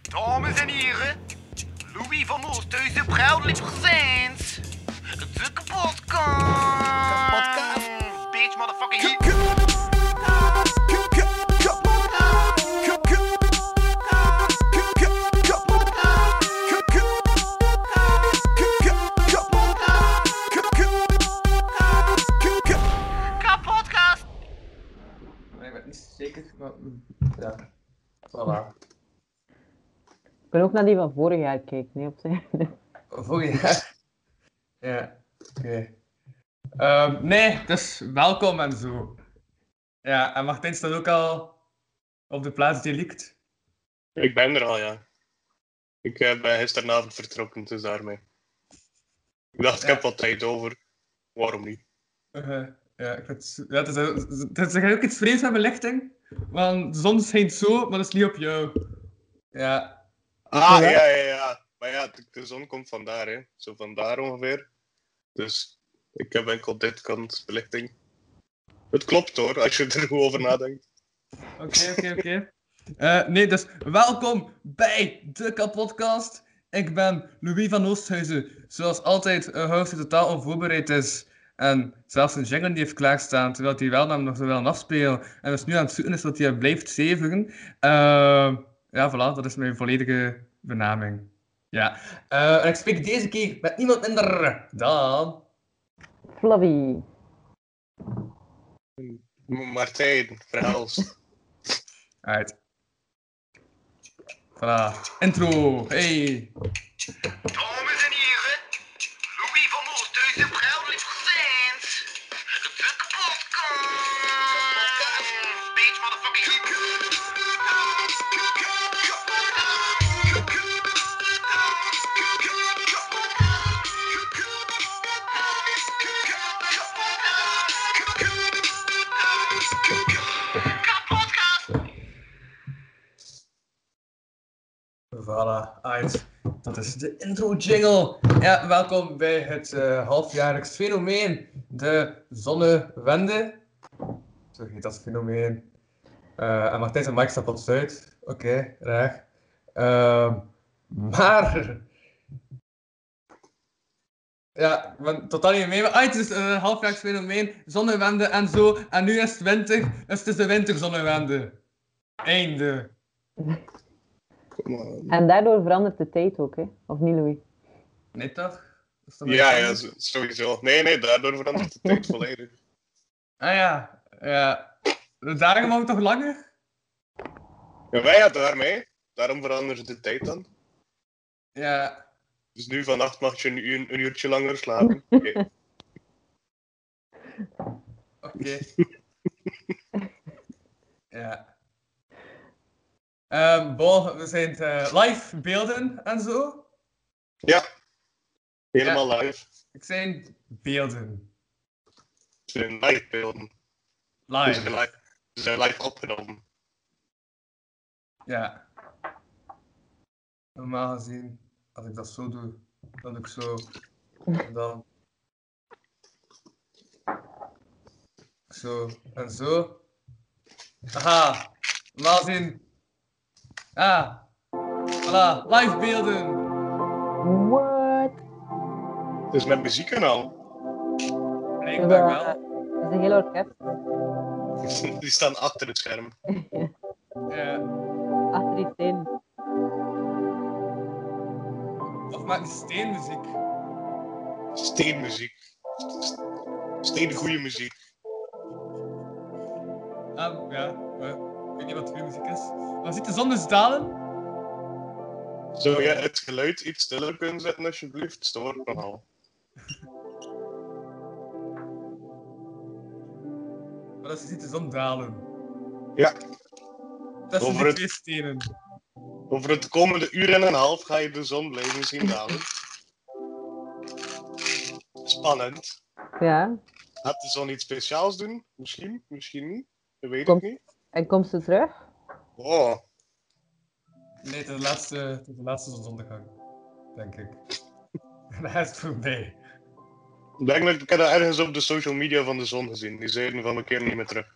Dames en heren, Louis van Oosthuizen Bruidelijk Gezins. De kapotkast. Kapotkast. Bitch, motherfucker, hier. Kapotkast. Maar ik weet niet zeker. Maar, mm, ja, voilà. Ik ben ook naar die van vorig jaar gekeken. Nee, op zijn. Vorig jaar. Ja, oké. Ehm, nee, dus welkom en zo. Ja, en Martijn staat ook al op de plaats die liekt. Ik ben er al, ja. Ik eh, ben gisteravond vertrokken, dus daarmee. Ik dacht, ik Ja. heb wat tijd over. Waarom niet? Eh, ja, ik vind, ja, het is, het is, er gaat ook iets vreemds aan belichting. Want de zon schijnt zo, maar dat is niet op jou. Ja, Ah, Ja. ja, ja, ja. Maar ja, de- de zon komt vandaar, hè. Zo vandaar ongeveer. Dus ik heb enkel dit kant belichting. Het klopt hoor, als je er goed over nadenkt. oké, oké, oké. Eh, nee, dus welkom bij de Kapodcast. Ik ben Louis van Oosthuizen. Zoals altijd, een host die totaal onvoorbereid is. En zelfs een jingle die heeft klaarstaan, terwijl hij wel namelijk nog zo wel een afspeel. En dus nu aan het zoeken is dat hij blijft zevigen. Eh, ja, voilà, dat is mijn volledige benaming. Ja. Eh, en ik spreek deze keer met niemand minder dan... Flavie. M- Martijn, verhaals. Uit. Voilà. Intro. Hey. Dames en heren, Louis van Oosthuizen Bruidelijk Gezins. De kapotkast. Bitch, motherfucker, hier. Kapotkast. Voilà, uit. Dat is de intro jingle. Ja, welkom bij het eh, halfjaarlijks fenomeen, de zonnewende. Zo heet dat fenomeen. Eh en Martijn en Mike staat op Zuid. Oké, graag. Ehm, maar... Ja, ik ben totaal niet mee. Maar ah, het is een halfjaarlijks fenomeen, zonnewende en zo. En nu is het winter, dus het is de winterzonnewende. Einde. Kom on. En daardoor verandert de tijd ook, hè? Of niet, Louis? Nee toch? Is dat Ja, mijn ja, stem? zo- sowieso. Nee, nee, daardoor verandert de tijd volledig. Ah ja, ja. De dagen mogen toch langer? Ja, wij hadden daarmee. Daarom verandert de tijd dan. Ja. Dus nu vannacht mag je een, uur- een uurtje langer slapen. Oké. Oké. ja. Ehm bon, we zijn eh, live beelden en zo. Ja, helemaal live. Ik zijn beelden. Het zijn live beelden. Ze zijn Live. live, ze zijn live opgenomen. Ja. Normaal gezien, als ik dat zo doe, dan doe ik zo. En dan. Zo en zo. Aha, normaal gezien. Ah, voilà, live beelden. What? Het is met muziekkanaal. Blijkbaar wel. Ja. Dat Eh, is een heel orkest Die staan achter het scherm. Ja. achter die steen. Of maak steenmuziek. Steenmuziek. Steen goede muziek. Ah, ja, eh, ik weet niet wat goede muziek is. Maar ziet de zon dus dalen? Zou jij het geluid iets stiller kunnen zetten alsjeblieft? Het Stoort me al. Maar dat is ziet de zon dalen. Ja. Dat zijn Over die het- twee stenen. Over het komende uur en een half ga je de zon blijven zien dalen. Spannend. Ja. Gaat de zon iets speciaals doen? Misschien, misschien niet. Dat weet Kom. ik niet. En komt ze terug? Oh, Nee, het is de laatste, het is de laatste zonsondergang. Denk ik. En hij is het voorbij. ik denk dat ik heb dat ergens op de social media van de zon gezien. Die zeiden van, we keren niet meer terug.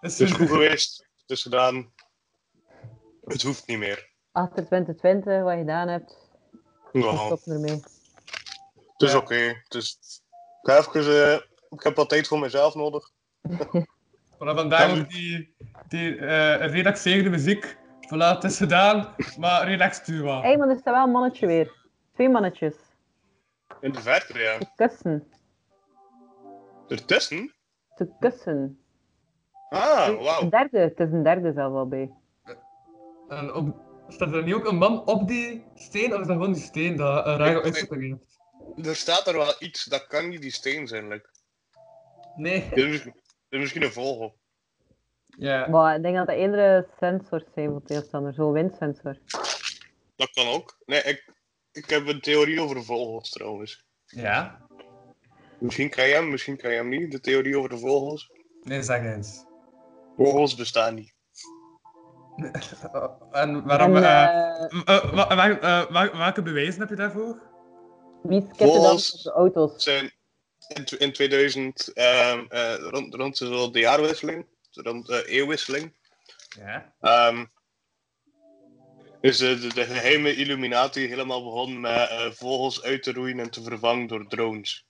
Dus, Het is goed geweest. Het is gedaan. Het hoeft niet meer. achter 2020, wat je gedaan hebt, Nou, stop ermee. het is Ja. oké. Het is- Ik, ga even, eh, ik heb wat tijd voor mezelf nodig. Maar vandaag Dan- ook die, die eh, relaxerende muziek. Voilà, het is gedaan, maar relax u Hé, wat. maar er staat wel een mannetje weer. Twee mannetjes. In de verte, ja. Te kussen. Ertussen? Te kussen. Ah, Een wauw. derde. Het is een derde zelf al bij. En op, staat er niet ook een man op die steen, of is dat gewoon die steen dat een rare uitzetting heeft? Er staat er wel iets, dat kan niet die steen zijn. Like. Nee. Dit, is, misschien- dit is misschien een vogel. Ja. Maar ik denk dat dat eerdere sensors zijn voor tegenstander. Zo'n windsensor. Dat kan ook. Nee, ik, ik heb een theorie over vogels trouwens. Ja? Misschien kan je hem, misschien kan je hem niet. De theorie over de vogels. Nee, zeg eens. Vogels bestaan niet. Eh, En waarom... en, eh, eh, eh, wa- waar- eh, waar- welke bewijzen heb je daarvoor? wie skipte dan Volgens- op de auto's? zijn in, tw- in 2000, ehm, eh, rond, rond zo de jaarwisseling, rond de eeuwwisseling, Ja. ehm, is de, de, de geheime Illuminati helemaal begonnen met eh, vogels uit te roeien en te vervangen door drones.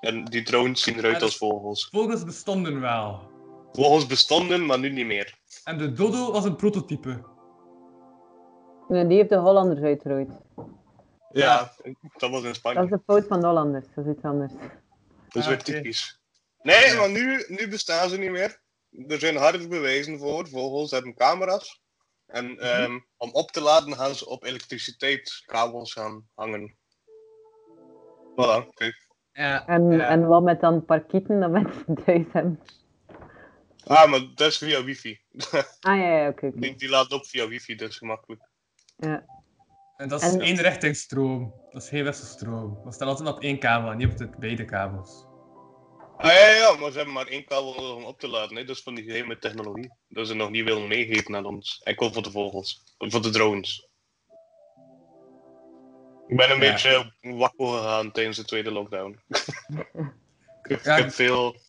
En die drones zien Ah, eruit dat- als vogels. Vogels bestonden wel. Vogels bestonden, maar nu niet meer. En de dodo was een prototype. Nee, die heeft de Hollanders uitgeroeid. Ja, dat was in Dat is Spanje. de fout van de Hollanders. Dat is iets anders. Dat is Ah, weer oké. typisch. Nee, Ja. maar nu, nu bestaan ze niet meer. Er zijn harde bewijzen voor. Vogels hebben camera's. En Mhm. ehm, om op te laden gaan ze op elektriciteitskabels gaan hangen. Voilà, kijk. Ja. En, Ja. en wat met dan parkieten dat mensen thuis hebben? Ah, maar dat is via wifi. Ah ja, ja, oké. oké. Die, die laat op via wifi, dat is gemakkelijk. Ja. En dat is En- één richtingsstroom. Dat is geen wisselstroom. Dat staat altijd op één kabel en niet op de beide kabels. Ah ja, ja, maar ze hebben maar één kabel nodig om op te laden. Hè. Dat is van die geheime technologie. Dat ze nog niet willen meegeven aan ons. Enkel voor de vogels. Voor de drones. Ik ben een Ja. beetje wakker gegaan tijdens de tweede lockdown. ik, heb- Ja. ik heb veel... Ik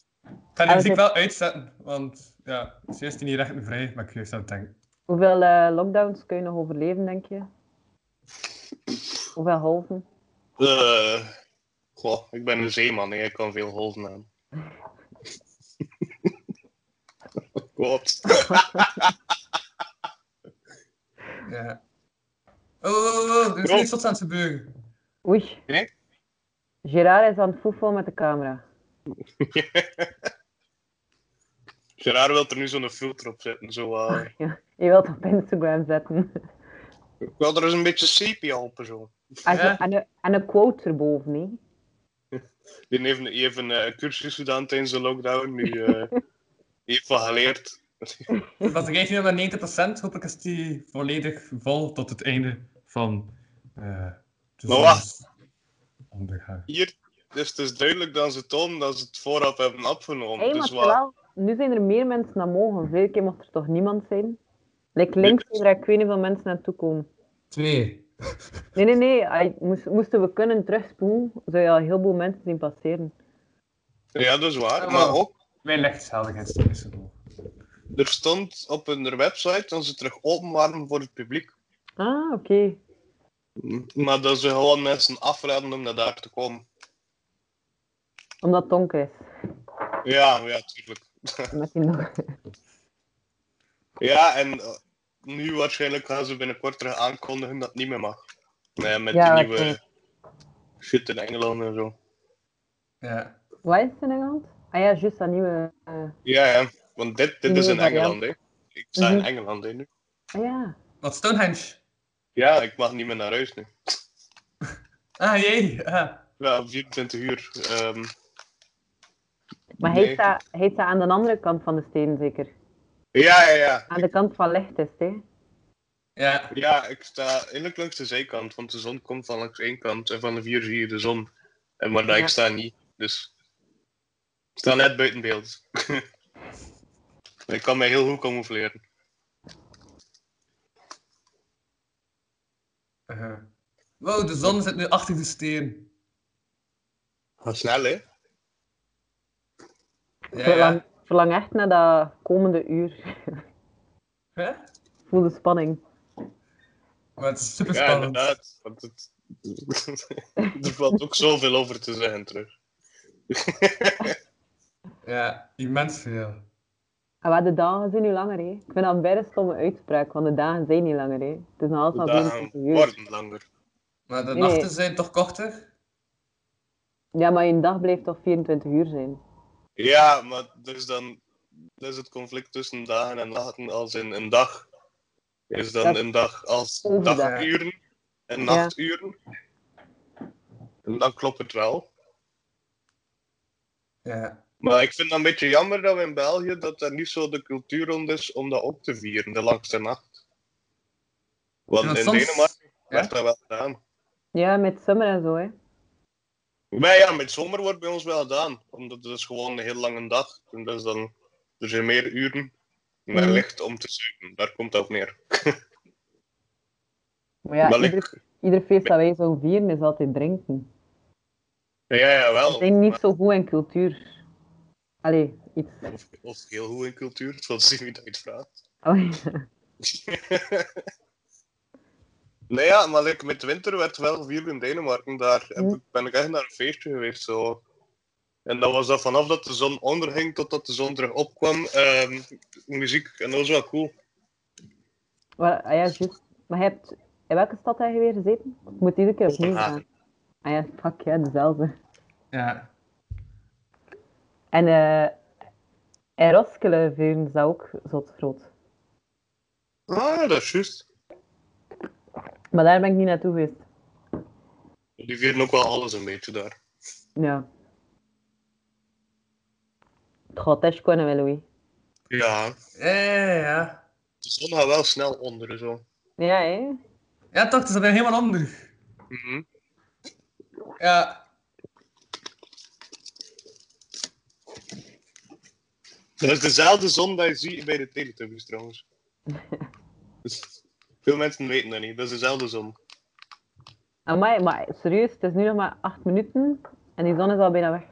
ga de Ah, muziek oké. wel uitzetten, want ja, ze is die niet recht vrij, maar ik geef ze aan het denken. Hoeveel eh, lockdowns kun je nog overleven, denk je? Hoeveel golven? eh, goh, ik ben een zeeman. Hè. Ik kan veel golven aan. God. Ja. Oh, oh, oh, oh, er is Oh. niks tot aan het gebeuren. Oei. Nee? Gerard is aan het foefelen met de camera. Gerard wil er nu zo'n filter op zetten. Zo, eh, Ja, je wilt op Instagram zetten. ik wil er eens een beetje sepia op en zo. En, zo- Ja. en, een, en een quote erboven, hè? Die heeft, die heeft een eh, cursus gedaan tijdens de lockdown. Nu, eh, die heeft van geleerd. Dat is 19 maar 90%, hopelijk is die volledig vol tot het einde van eh de Maar wacht. zonsondergang. Hier is het dus duidelijk dat ze tonen dat ze het vooraf hebben afgenomen. Hé, maar dus wat, terwijl, nu zijn er meer mensen dan mogen. Veel keer mocht er toch niemand zijn? Like links zijn er, ik weet niet hoeveel mensen naartoe komen. Twee. Nee, nee, nee. hij- moest- moesten we kunnen terugspoelen, zou je al heel veel mensen zien passeren. ja, dat is waar. Ja, maar maar- ook, Mijn lichtgeldigheid is er nog. er stond op hun website dat ze terug open waren voor het publiek. Ah, oké. Maar dat ze gewoon mensen afraden om naar daar te komen. Omdat het donker is. Ja, ja, tuurlijk. Met die nog. Ja, en eh, nu waarschijnlijk gaan ze binnenkort terug aankondigen dat het niet meer mag. Nee, met Ja, die nieuwe oké. shit in Engeland en zo. Ja. Wat is het in Engeland? Ah ja, juist dat nieuwe. eh, Ja, ja. Want dit, dit is in Nieuwe variant. Engeland, hè. Ik sta in Mhm. Engeland, hè, nu. ah ja. Wat Stonehenge? Ja, ik mag niet meer naar huis nu. Ah, jee. Ah. Ja, 24 uur. ehm, Maar hij Nee. staat, hij staat aan de andere kant van de steen, zeker. Ja, ja, ja. Aan de kant van licht is, het, hè? Ja. Ja, ik sta eigenlijk langs de zijkant, want de zon komt van langs één kant en van de vier zie je de zon. En maar daar Ja. ik sta niet, dus... Ik sta net buiten beeld. ik kan mij heel goed camoufleren. Eh. Wow, de zon zit nu achter de steen. Gaat snel, hè? Ja, Verlang, ja. verlang echt naar dat komende uur. Hè? Voel de spanning. Maar het is super Ja, spannend. inderdaad. Want het, er valt ook zoveel over te zeggen terug. Ja, immens veel. En wat de dagen zijn nu langer, hè? Ik vind dat een bijna stomme uitspraak, want de dagen zijn niet langer, hè? Het is nog De altijd dagen 24 uur. worden langer. Maar de Nee, nachten nee. zijn toch korter? Ja, maar je dag blijft toch 24 uur zijn? Ja, maar dus dan dat is het conflict tussen dagen en nachten als in een dag. Is dan Dat- een dag als Overdag. daguren en Ja. nachturen. En dan klopt het wel. Ja. Maar ik vind het een beetje jammer dat we in België dat er niet zo de cultuur rond is om dat op te vieren, de langste nacht. Want in Want soms- Denemarken ja. werd dat wel gedaan. Ja, met summer en zo, hè? Maar ja, met zomer wordt bij ons wel gedaan. Omdat het is gewoon een heel lange dag. En dus dan, er zijn meer uren, meer Mhm. licht om te zuipen. Daar komt dat op neer. Maar ja, Maar ik- ieder, ieder feest dat wij zo vieren is altijd drinken. Ja, ja, We wel. zijn niet Maar- zo goed in cultuur. Allee, iets. Of, of heel goed in cultuur, dat zien wie dat je het vraagt. Allee. nee, ja, maar like, met winter werd wel vier in Denemarken. Daar heb ik, ben ik echt naar een feestje geweest. Zo. En dat was dat vanaf dat de zon onderging totdat de zon terug opkwam. ehm, muziek, en dat was wel cool. Maar, ah ja, juist. Maar je hebt... In welke stad heb je weer gezeten? Ik moet iedere keer opnieuw gaan. Kopenhagen. Ah ja, fuck ja, dezelfde. Ja. En eh in Roskilde vieren ze dat ook zot groot. Ah, ja, dat is juist. Maar daar ben ik niet naartoe geweest. Die vieren ook wel alles een beetje daar. Ja. Het gaat echt kunnen, hè, Louis. Ja, Ja, ja, ja. de zon gaat wel snel onder zo. Ja, hè? Ja, toch, het is er helemaal onder. Mhm. Ja. Dat is dezelfde zon dat je ziet bij de Teletubbies trouwens. Dus veel mensen weten dat niet, dat is dezelfde zon. Amai, maar serieus, het is nu nog maar acht minuten en die zon is al bijna weg.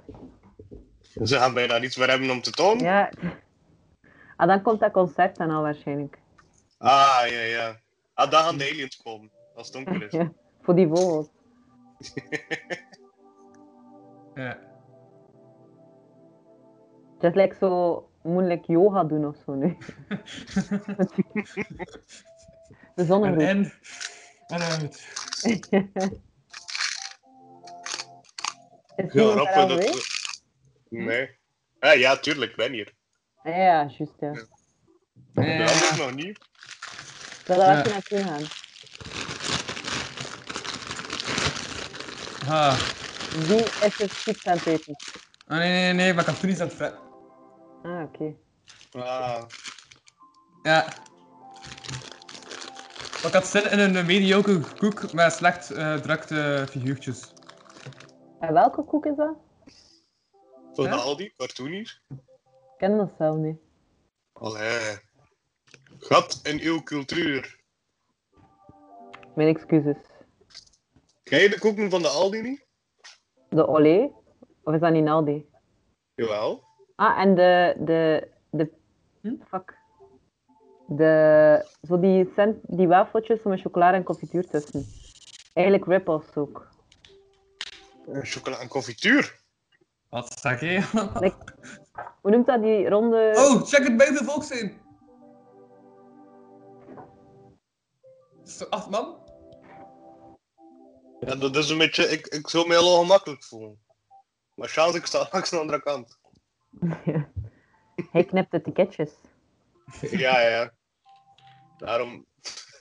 Ze gaan bijna niets meer hebben om te tonen. Ja. Ah, dan komt dat concert dan al waarschijnlijk. Ah, ja, ja. Ah, dan gaan de aliens komen, als het donker is. Ja, voor die vogels. Ja. Het is like zo moeilijk yoga doen of zo nu. De En zonnegroep. in. En uit. Is Heel iemand daar al grappig dat... geweest? Nee. Ah, ja, tuurlijk, ik ben hier. Ah, Ja, ja, juist. Ja. Ja, De ja, andere ja. nog niet. Zal daar Ja. even naartoe gaan? Ha. Wie is er chips aan het eten? Ah, nee, nee, nee, maar Katoen is aan het fretten. Ah, oké. Ah. Ja. Maar ik had zin in een mediocre koek met slecht eh drukte figuurtjes. En welke koek is dat? Van Ja? al die cartoonies. Ik ken dat zelf niet. Allee. Gat in uw cultuur. Mijn excuses. Ken je de koeken van de Aldi niet? De Olé? Of is dat niet Aldi? Jawel. Ah, en de... de, de fuck. De, zo die, cent, die wafeltjes met chocolade en confituur tussen. Eigenlijk rip-offs ook. Eh, Chocola en confituur. Wat zeg je? Hoe noemt dat die ronde... Oh, check het buiten volks in! Is er acht man? Ja, dat is een beetje... Ik, ik zou me heel ongemakkelijk voelen. Maar Charles, ik sta langs de andere kant. Hij knipt de ticketjes. Ja, ja, ja. Daarom...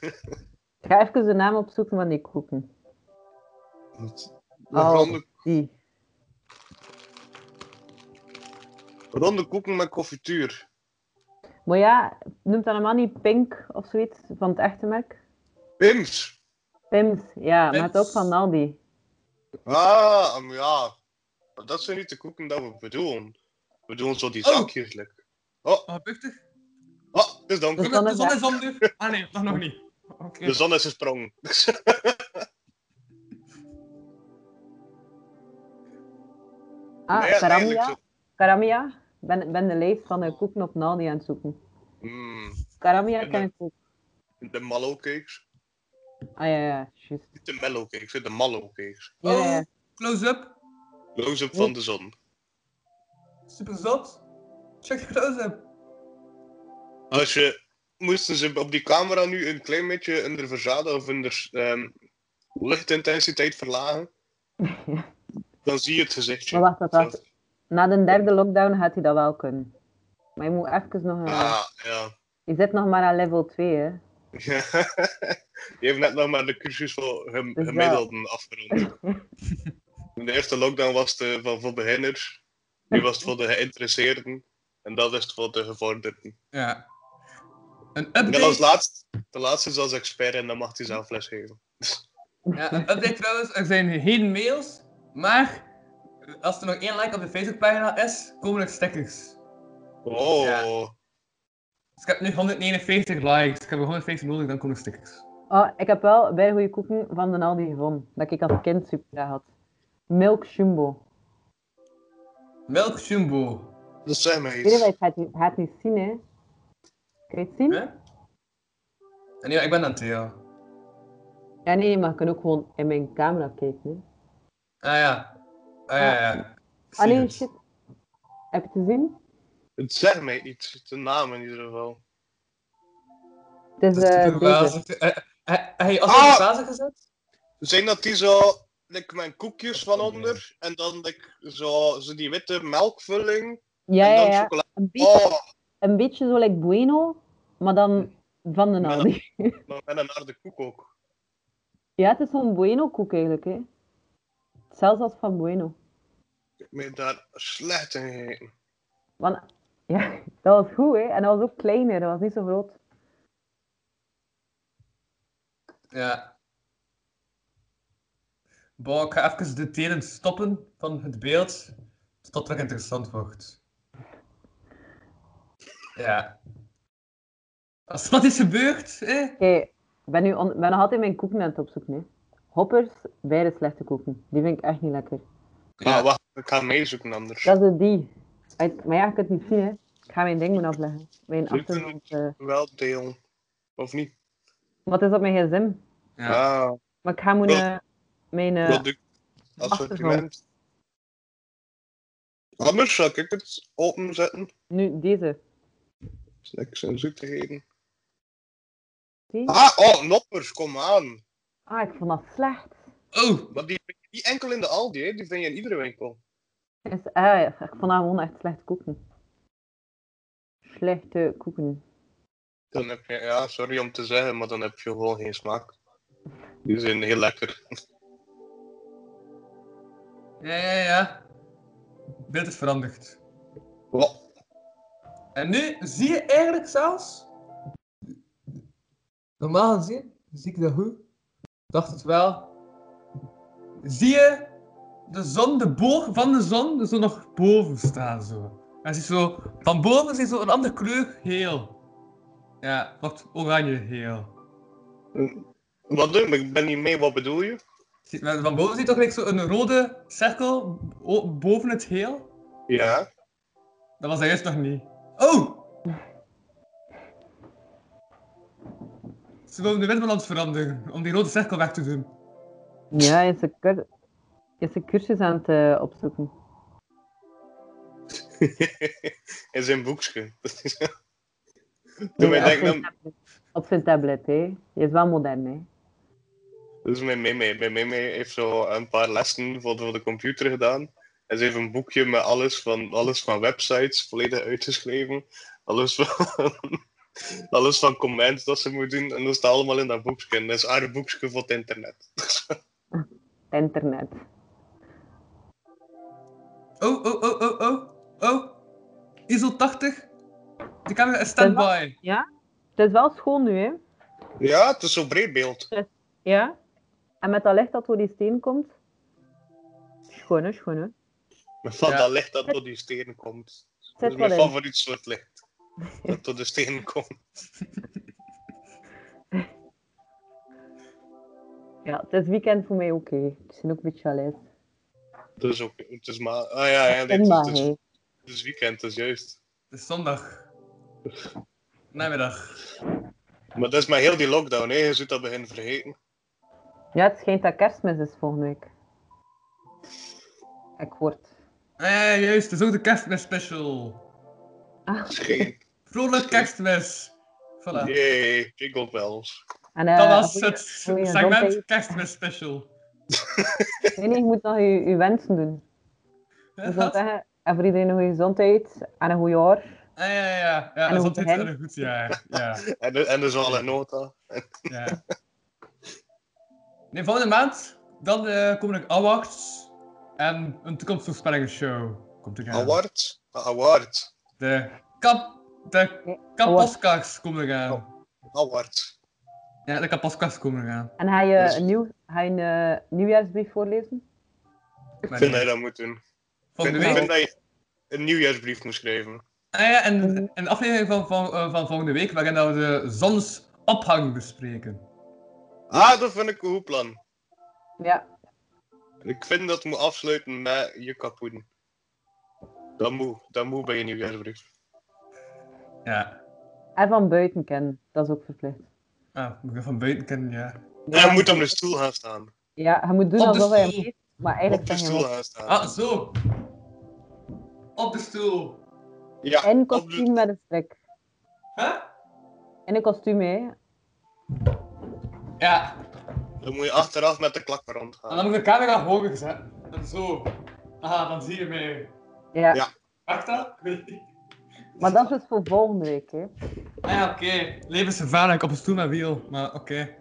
Ik ga even de naam opzoeken van die koeken. De ronde, Die. ronde koeken met confituur. Maar ja, noemt dat helemaal niet Pink of zoiets van het echte merk? Pims! Pims, ja, maar het Pims. ook van Aldi. Ah, um, ja. Maar dat zijn niet de koeken dat we bedoelen. We doen zo die Oh. zakjes lekker. Oh, Oh, buchtig. ah, het is donker. Dan De is zon dat- is onder. Ah nee, nog nog niet. Oké. De zon is gesprongen. Ah, Nee, ja, eigenlijk Ah, Karamia. zo. Karamia. Ben, ben de lijst van de koeken op Aldi aan het zoeken. Mm, Karamia En ken dat- ik ook. de mallow cakes. Ah ja, ja, juist. Niet de mellow cakes, hè, de mallow cakes. Ja, ja, ja. Oh, close-up. Close-up van de zon. Super zot. Check de close-up. Als je, moesten ze op die camera nu een klein beetje in de verzade of in de ehm, lichtintensiteit verlagen, dan zie je het gezichtje. Maar wacht, wacht, wacht. Na de derde lockdown gaat hij dat wel kunnen. Maar je moet even nog een... Ah, ja. Je zit nog maar aan level 2, hè. je hebt net nog maar de cursus voor gem- Dus ja. gemiddelden afgerond. In de eerste lockdown was het eh, van voor beginners, nu was het voor de geïnteresseerden en dat is het voor de gevorderden. Ja. Een En dan als update. laatst, de laatste is als expert en dan mag hij zelf lesgeven. Ja, een update trouwens. Er zijn geen mails, maar als er nog één like op de Facebookpagina is, komen er stickers. Oh, Dus ik heb nu 149 likes. Ik heb er 150 nodig, dan komen er stickers. Oh, ik heb wel bij goede koeken van de Aldi gevonden. Dat ik als kind super graag had. Milk Jumbo. Melk Jumbo. dat zijn mij Weet je wat, iets. je gaat het gaat het niet zien, hè. Kun je het zien? Hè? En ja, ik ben aan Theo. Ja, nee, maar je kan ook gewoon in mijn camera kijken, hè. Ah ja. Ah ja, ja. Ah nee, Secrets. shit. Heb je het gezien? Het zegt mij iets, de naam in ieder geval. Het is Dat is eh, toch wel deze. zo- eh, eh, Heb je als Ah! op de fase gezet? Zijn dat die zo, like mijn koekjes van onder en dan like, zo, zo die witte melkvulling Ja, en ja, dan ja. chocolade? Een beetje, Oh, een beetje zo like Bueno, maar dan van de Ja. Aldi. dan met een harde koek ook. Ja, het is zo'n Bueno-koek eigenlijk, hè. Zelfs als van Bueno. Ik heb me daar slecht in gegeten. Want, ja, dat was goed, hè. En dat was ook kleiner, dat was niet zo groot. Ja. Bon, ik ga even de telen stoppen van het beeld, tot het interessant wordt. Ja. Als dat is gebeurd, hè? Oké, ik ben, nu on- ik ben nog altijd mijn koeken aan het opzoeken, hè. Hoppers, bij de slechte koeken. Die vind ik echt niet lekker. Maar wacht, ik ga meezoeken anders. Dat is die. Uit- Maar ja, ik kan het niet zien, hè. Ik ga mijn ding moeten afleggen. Mijn Lukt het achtergrond... eh. Wel deel. Of niet? Wat is op mijn gsm? Ja. Ja, Maar ik ga moeten... eh, Mijn... eh, product, assortiment. Anders zal ik het openzetten. nu, deze. Snacks en zoetigheden. Zie? Ah, oh, noppers, kom aan. Ah, ik vond dat slecht. Oh, Maar die vind je niet enkel in de Aldi, hè. die vind je in iedere winkel. Is, ah, ja, ik vond dat gewoon echt slechte koeken. Slechte koeken. Dan heb je, ja, sorry om te zeggen, maar dan heb je gewoon geen smaak. Die zijn heel lekker. ja, ja, ja. Het beeld is veranderd. Wow. En nu zie je eigenlijk zelfs. Normaal gezien, zie ik dat goed. Dacht het wel. Zie je de zon, de boog van de zon, er zo nog boven staan zo. En zie zo, van boven zie je zo een andere kleur geel. Ja, wordt oranje geel. Wat doe je? Ik ben niet mee, wat bedoel je? Zie- maar Van boven zie je toch gelijk zo een rode cirkel o- boven het geel? Ja. Dat was hij eerst nog niet. Oh! Ze wilden de windbalans veranderen om die rode cirkel weg te doen. Ja, je is een, cur- je is een cursus aan het eh, opzoeken. In zijn boekje. Doe mij Ja, op, denken zijn aan... tablet, op zijn tablet, hè. Je is wel modern, hè. Dat is Dus mijn meme. Mijn meme heeft zo een paar lessen voor de, voor de computer gedaan. En ze heeft een boekje met alles van, alles van websites volledig uitgeschreven. Alles van, alles van comments dat ze moet doen. En dat staat allemaal in dat boekje. En dat is haar boekje voor het internet. Het internet. Oh, oh, oh, oh, oh, oh. ISO 80. De camera is standby. Het is wel schoon nu, hè. Ja, het is zo'n breed beeld. Ja. En met dat licht dat door die steen komt. Schoon, hè, schoon, hè. Met van Ja. dat licht dat door die stenen komt. Dat Zet is mijn wel in. favoriet soort licht. Dat door de stenen komt. Ja, het is weekend voor mij ook, hè. Ik ben ook een beetje alleen. Dat is ook... Het is maar... Ah ja, ja. nee, En maar, het, is, hè. het is weekend, dat is juist. Het is zondag. Namiddag. Maar dat is maar heel die lockdown, hè. Je zult dat begin vergeten. Ja, het schijnt dat kerstmis is volgende week. Ik word. Eh, juist, het is ook de kerstmis special. Ah, Geen. Vrolijk kerstmis. Voilà. Yay, jingle bells. en, Dat eh, was goeie- het goeie segment gezondheid. kerstmis special. Nee, nee, je moet nog je, je wensen doen. Je zou Ah, zeggen, en voor iedereen een goede gezondheid en een goed jaar. ja, ja, ja. ja En dat hoe is altijd hen? een goed jaar. Ja, En de, en de zal en nota. ja. Nee, volgende maand, dan eh, komen er awards en een toekomstvoorspellingsshow komt er aan. Award. Award. De kap... De Nee, kapodcasts komen eraan. Award. Ja, de kapodcasts komen eraan. En ga je Dus- een, nieuw, ga je een eh, nieuwjaarsbrief voorlezen? Ik Maar vind nee, dat je dat moet doen. Ik volgende vind, week. ik vind dat je een nieuwjaarsbrief moet schrijven. Ah ja, en, en de aflevering van, van, eh, van volgende week, waarin dat we de zonsopgang bespreken. Ah, dat vind ik een goed plan. Ja. En ik vind dat moet afsluiten met je kapoen. Dat moet, dat moet bij je nieuwjaarsbrief. Ja. En van buiten kennen, dat is ook verplicht. Ah, moet ik van buiten kennen, ja. En je moet op de stoel gaan staan. Ja, je moet doen Op de alsof hij hem stoel. weet, maar Op eigenlijk de zeg je stoel hem gaan staan. Ah, zo. Op de stoel. ja, In op de- kostuum met een strik. Huh? In een kostuum, hè. Ja. dan moet je achteraf met de klak En rondgaan. dan moet ik de camera hoger zetten. En zo. Ah, dan zie je mij. Ja. Ja. Wacht dat? Ik weet het niet. Maar dat is dus voor volgende week, hè. Ah ja, oké. Levensgevaarlijk op een stoel met wiel, maar oké.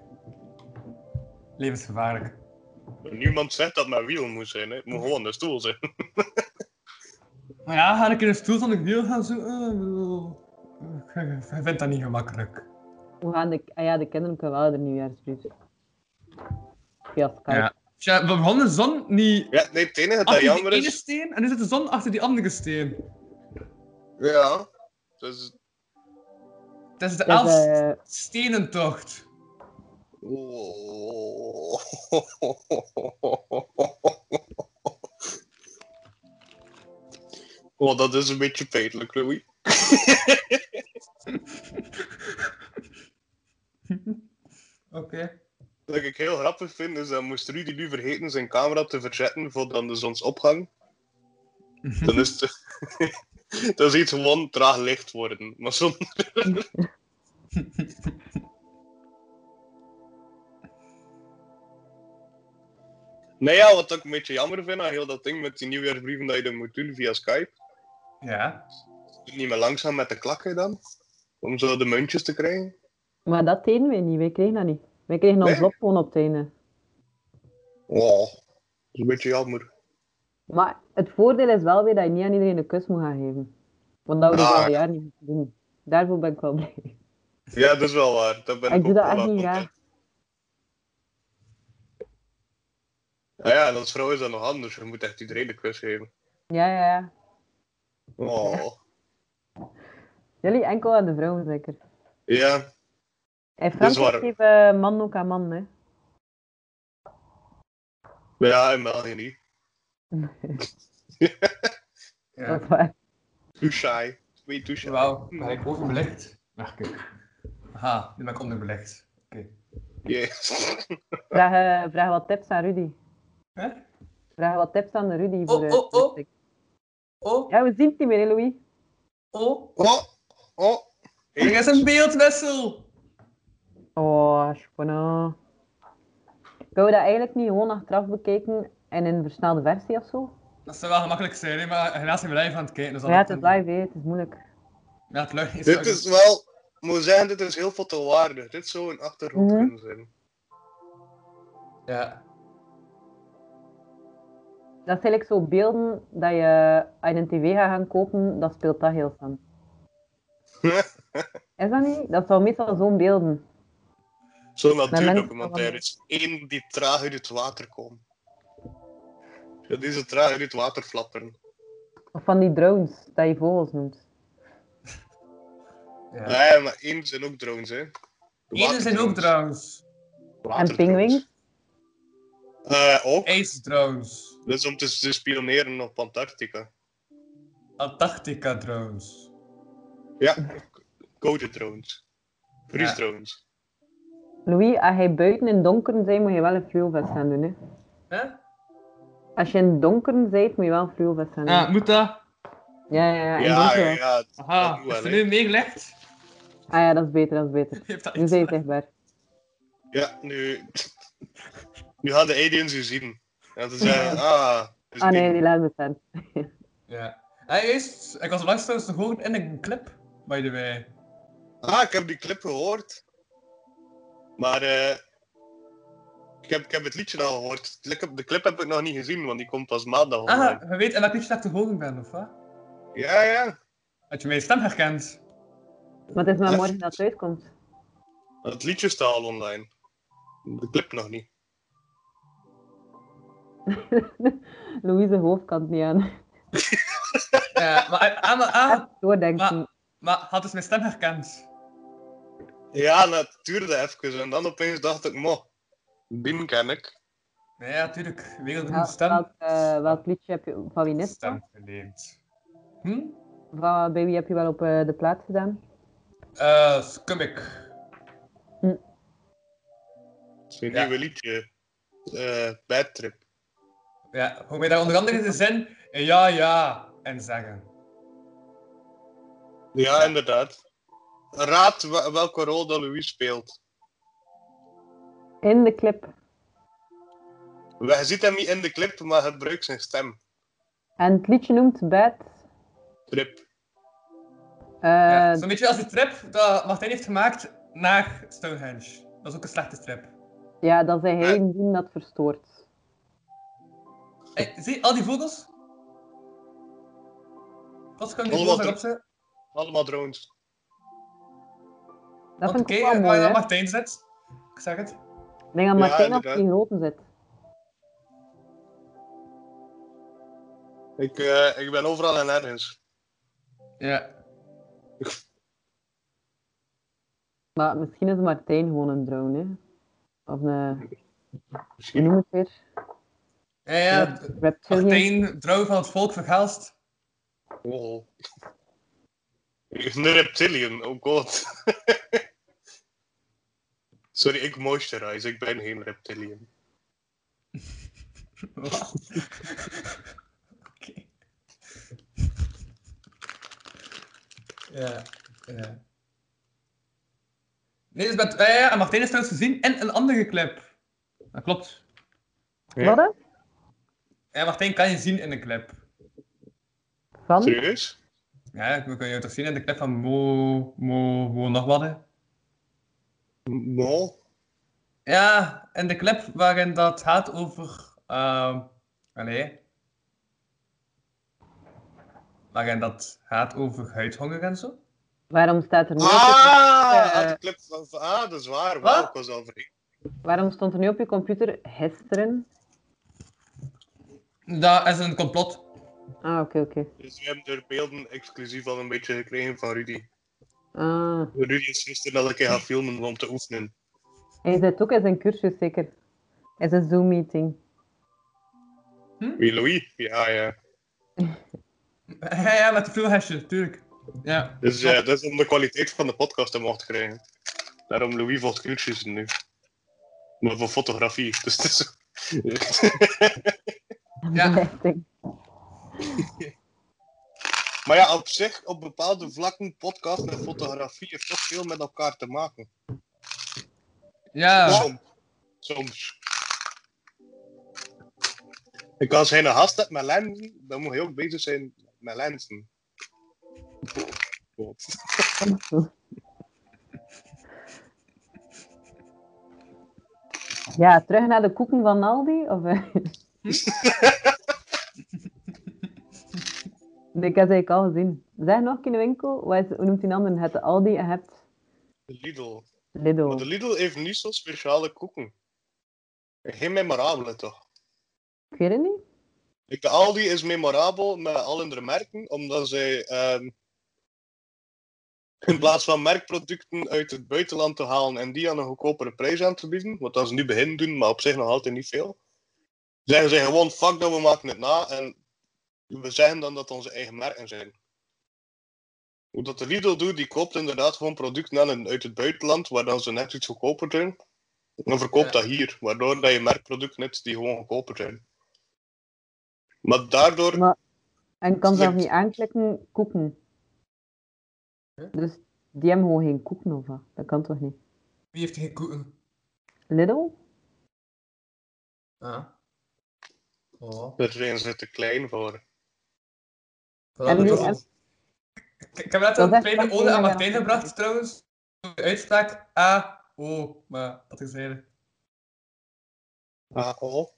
Levensgevaarlijk. Niemand zegt dat mijn wiel moet zijn, hè. het moet gewoon de stoel zijn. Ah. Maar ja, ga ik in een stoel zonder wiel gaan zoeken? Ik bedoel, ik- Ik vind dat niet gemakkelijk. We gaan de, ah ja, de kinderen kunnen wel de nieuwjaarsbrief. Via Skype. Ja. Tja, we begonnen de zon niet Ja, nee, het enige dat achter Ah, die jammer ene is. steen en nu zit de zon achter die andere steen. Ja, dus. Dat is de Het is, elf eh, stenentocht. Oh, dat is een beetje pijnlijk, Louis. Oké. Wat ik heel grappig vind, is dat moest Rudy nu vergeten zijn camera te verzetten voor dan de zonsopgang. Dan is het... dan ziet het gewoon traag licht worden. Maar zo... nee ja, wat ik een beetje jammer vind aan heel dat ding met die nieuwjaarsbrieven dat je dan moet doen via Skype. Ja. Doe je Niet meer langzaam met de klakken dan. Om zo de muntjes te krijgen. Maar dat deden wij niet, wij kregen dat niet. Wij kregen ons Nee? op gewoon op het einde. Oh, dat is een beetje jammer. Maar het voordeel is wel weer dat je niet aan iedereen een kus moet gaan geven. Want dat we Ah. dat jaar niet moeten doen. Daarvoor ben ik wel blij. Ja, dat is wel waar. Dat ben ik, Ik doe ook dat wel echt niet content. graag. Ah ja, en als vrouw is dat nog anders. Je moet echt iedereen de kus geven. Ja, ja, ja. Oh. Jullie enkel aan de vrouwen zeker. Ja, Dus In is Frankrijk waar. geven eh, man ook aan man, hè. ja in België niet. ja. Dat is waar. Too shy. Way too shy. Wauw, ben ik overbelegd? Wacht, kijk. Aha, nu ben ik onderbelegd. Oké. Yes. Vraag, eh, vraag wat tips aan Rudy. Hè? Vraag wat tips aan de Rudy. Voor, eh, oh, oh. plastic. Oh, Ja, we zien het niet meer, hè, Louis. oh. Oh, oh. Er is een beeldwissel! Oh, spannend. Kunnen we dat eigenlijk niet gewoon achteraf bekijken en in een versnelde versie of zo? Dat zou wel gemakkelijk zijn, hè, maar helaas zijn we live aan het kijken. Dus Ja, het is live, hè. het is moeilijk. Ja, het lukt niet. Dit is wel... Ik moet zeggen, dit is heel fotowaardig. Dit zou een achtergrond Mhm. kunnen zijn. Ja. Dat zijn eigenlijk zo beelden dat je als je een tv gaat gaan kopen, dat speelt dat heel snel. Is dat niet? Dat zijn meestal zo'n beelden. Zo'n mensen natuurdocumentaire. Het is één die traag uit het water komt. Ja, die zo traag uit het water flapperen. Of van die drones, dat je vogels noemt. ja. Ah Ja, ja, maar één zijn ook drones, hè. Eenden zijn ook Waterdrones. trouwens. En pinguïns. Eh, ook. Ijsdrones. Dat is om te, te spioneren op Antarctica. Antarctica drones. Ja, code drones. Freeze drones. Louis, als hij buiten in het donker bent, moet je wel een fluwelvest aan doen. Hè? Hè? Als je in het donker bent, moet je wel een fluwelvest aan doen. Ah, moet dat? Ja, ja, ja. in het Ja, donker ja, wel. ja. Dat Aha, doen we is er wel, nu meegelegd? Ah ja, dat is beter, dat is beter. Heeft dat Nu iets zijn je zichtbaar. Ja, nu... Nu hadden de aliens je zien. En ze zeiden, ah... het is Ah nee, niet- die laat me staan. Ja. Hij is, ik was langs trouwens te horen in een clip, by the way. Ah, ik heb die clip gehoord. Maar eh, ik, heb, ik heb het liedje al gehoord. De clip, de clip heb ik nog niet gezien, want die komt pas maandag online. Ah, je weet en dat ik slecht te horen ben, of wat? Ja, ja. Had je mijn stem herkend? Maar het is maar morgen dat het uitkomt. Het liedje staat al online. De clip nog niet. Louise hoofd kan het niet aan. Ja, maar, ah, maar, ah, Doordenken. maar, maar had dus mijn stem herkend? Ja, dat duurde even. En dan opeens dacht ik, mo, die ken ik. Nee, ja, tuurlijk. Wereldberoemde Wel- Ah, stem. welk, eh, welk liedje heb je van wie net? Stem verleend. Hm? Van, bij wie heb je wel op eh, de plaat gedaan? Eh, Scummik. Zijn Ja. nieuwe liedje. eh Bad Trip. Ja, hoor mij daar onder andere de zin ja, ja en zeggen. Ja, inderdaad. Raad wa- welke rol dat Louis speelt. In de clip. Je ziet hem niet in de clip, maar hij gebruikt zijn stem. En het liedje noemt Bad. Trip. Eh, Ja, Zo'n beetje als die trip dat Martijn heeft gemaakt naar Stonehenge. Dat is ook een slechte trip. ja, dat zei hij die dat verstoort. Hey, zie, al die vogels? Wat kunnen die vogels Allemaal daarop zitten? Allemaal drones. Want Dat vind oké, eh, ik ook waar wel mooi, je hè? aan Martijn zit. Ik zeg het. Ik denk dat Ja, Martijn op inderdaad. die noten zit. Ik, eh, ik ben overal en ergens. Ja. Maar misschien is Martijn gewoon een drone, hè? Of een... Hoe noem je het weer? Ja, ja. Rep- reptilian. Martijn, trouw van het volk vergaalst. Oh. Een reptilian, oh god. Sorry, ik moisturize, ik ben geen reptilian. Oké. Ja, ja. Nee, dus met, ah ja, ja, en Martijn is trouwens gezien in een andere clip. Dat klopt. Wat? hè? Ja, Martijn kan je zien in een clip. Van? Serieus? Ja, we kunnen je toch zien in de clip van Mo, Mo, Mo, nog wat hè? No. Ja, in de clip waarin dat gaat over. ehm allee. Waarin dat gaat over huidhonger en zo. Waarom staat er nu op je, Ah, eh, ah, de clip van- van- ah, dat is waar. Wow, ik was al vergeten. waarom stond er nu op je computer gisteren? Dat is een complot. Ah, oké, oké. Dus we hebben er beelden exclusief al een beetje gekregen van Rudy. Ah. Rudy is gisteren al een keer gaan filmen om te oefenen. Hij zit ook in zijn cursus, zeker. Hij is een Zoom-meeting. Wie, Louis? Ja, ja. Ja, ja, met de vloerhesje, tuurlijk. Ja. Dus eh, dat is om de kwaliteit van de podcast omhoog te krijgen. Daarom Louis volgt cursussen nu. Maar voor fotografie. Dus het is... Ja. Meeting. maar ja, op zich, op bepaalde vlakken, podcast en fotografie heeft toch veel met elkaar te maken. Ja. Soms. Soms. Ik als hij een gast hebt met lenzen, dan moet hij ook bezig zijn met lenzen. Goed. Ja, terug naar de koeken van Aldi? Of, eh? Nee, ik heb ze eigenlijk al gezien. Zeg nog een keer in de winkel. Wat is, hoe noemt die andere? Je hebt de Aldi en je hebt De Lidl. Lidl. Maar de Lidl heeft niet zo'n speciale koeken. Geen memorabele toch? Ik weet het niet. Ik, de Aldi is memorabel met al hun merken, omdat zij ehm, in plaats van merkproducten uit het buitenland te halen en die aan een goedkopere prijs aan te bieden, wat dat ze nu beginnen doen, maar op zich nog altijd niet veel, zeggen zij gewoon, fuck dat, we maken het na en we zeggen dan dat het onze eigen merken zijn. Hoe dat de Lidl doet, die koopt inderdaad gewoon producten aan een- uit het buitenland, waar dan ze net iets goedkoper zijn. Dan verkoopt Ja. dat hier, waardoor dat je merkproducten hebt die gewoon goedkoper zijn. Maar daardoor, Maar- En kan zelf Slikt. niet aanklikken, koeken. Dus die hebben gewoon geen koeken of wat? Dat kan toch niet? Wie heeft geen koeken? Lidl? Ah. Oh. daar zijn ze te klein voor. En nu- dat was en- het. Ik, ik heb net Dat een is kleine echt ode aan een- Martijn gebracht trouwens. De uitspraak A-O, maar dat is eigenlijk. Ah, oh.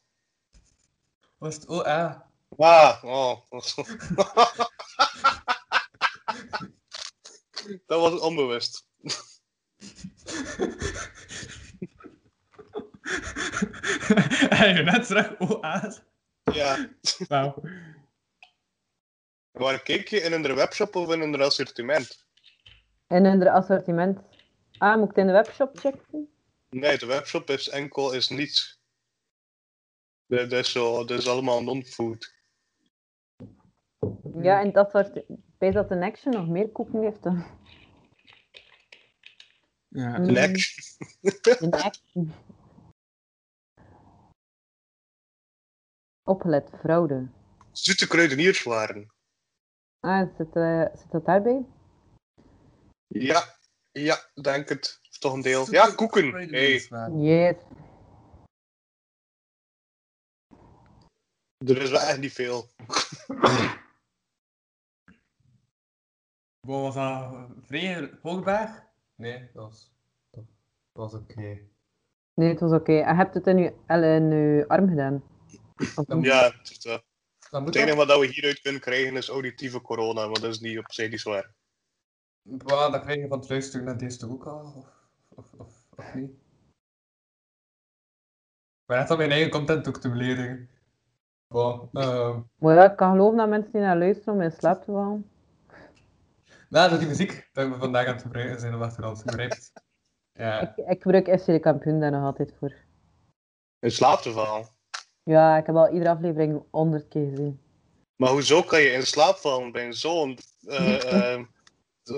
Was het O-A? Ah, oh. dat was onbewust. Hij heeft net terug O-A. Ja. Wauw. Waar keek je in een webshop of in een assortiment? In hun assortiment. Ah, moet ik het in de webshop checken? Nee, de webshop is enkel is niets. Dat is, zo, dat is allemaal non-food. Ja, en dat soort. Bij dat een action nog meer koeken heeft dan. Ja. Mm. Next. Een action. Opgelet, fraude. Zoete kruidenierswaren. Ah, zit, eh, zit dat daarbij? Ja, ja, denk het. Of toch een deel. Ja, koeken. Hey, Yes. er is wel echt niet veel. Wow, was dat vrij hoogberg? Nee, dat was, dat was oké. Nee, het was oké. En Je hebt het in je, al in je arm gedaan. Of niet? Ja, het is wel. Dan moet het enige wat we hieruit kunnen krijgen is auditieve corona, maar dat is niet op zich niet zwaar. Bah, dan krijg je van het luisteren naar deze toch ook al, of, of, of, of niet? Ik ben echt aan mijn eigen content ook te beledigen. Wow, ehm. Maar ja, ik kan geloven dat mensen die naar luisteren om in slaap te vallen. Nou, dat is die muziek dat we vandaag aan het gebruiken zijn op de achtergrond gebruikt. Ja. Ik, ik gebruik FC de kampioen daar nog altijd voor. In slaap te vallen. Ja, ik heb al iedere aflevering honderd keer gezien. Maar hoezo kan je in slaap vallen bij zo'n eh, eh,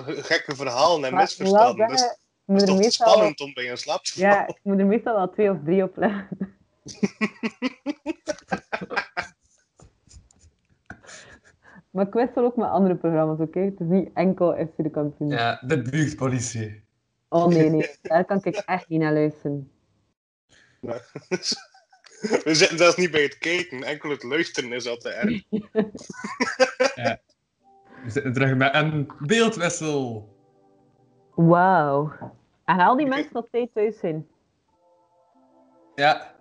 gekke verhaal en Maar ik moet wel misverstanden? Dat zeggen, is, ik moet er dat is toch te meestal wel- spannend om bij in slaap te vallen? Ja, ik moet er meestal wel twee of drie op leggen. maar ik wissel ook met andere programma's, oké? Het is niet enkel FC de kampioen. ja, de buurtpolitie. Oh nee, nee, daar kan ik echt niet naar luisteren. We zitten zelfs niet bij het kijken, enkel het luisteren is al te erg. We zitten terug met een beeldwissel. Wauw. En al die Oké. mensen dat twee thuis zijn. Ja,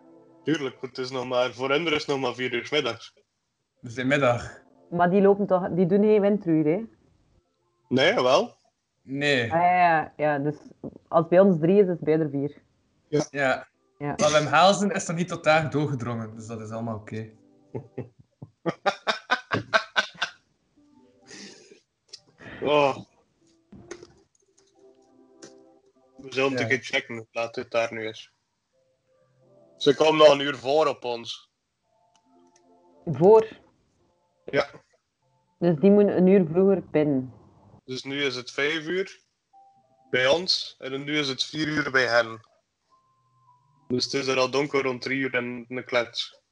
Tuurlijk, het is nog maar, voor hen is het nog maar vier uur 's middags. het is de middag. Maar die lopen toch, die doen geen windruur, hè? Nee, wel. Nee, Ah, ja, ja, ja, dus als het bij ons drie is, is het bij er vier. ja. Ja. Maar Wim Haalsen is er niet tot daar doorgedrongen, dus dat is allemaal oké. Oh. We zullen het Ja. een keer checken hoe laat het daar nu is. Ze komen nog een uur voor op ons. Voor. Ja. Dus die moeten een uur vroeger binnen. Dus nu is het vijf uur bij ons en nu is het vier uur bij hen. Dus het is er al donker rond drie uur en een klets.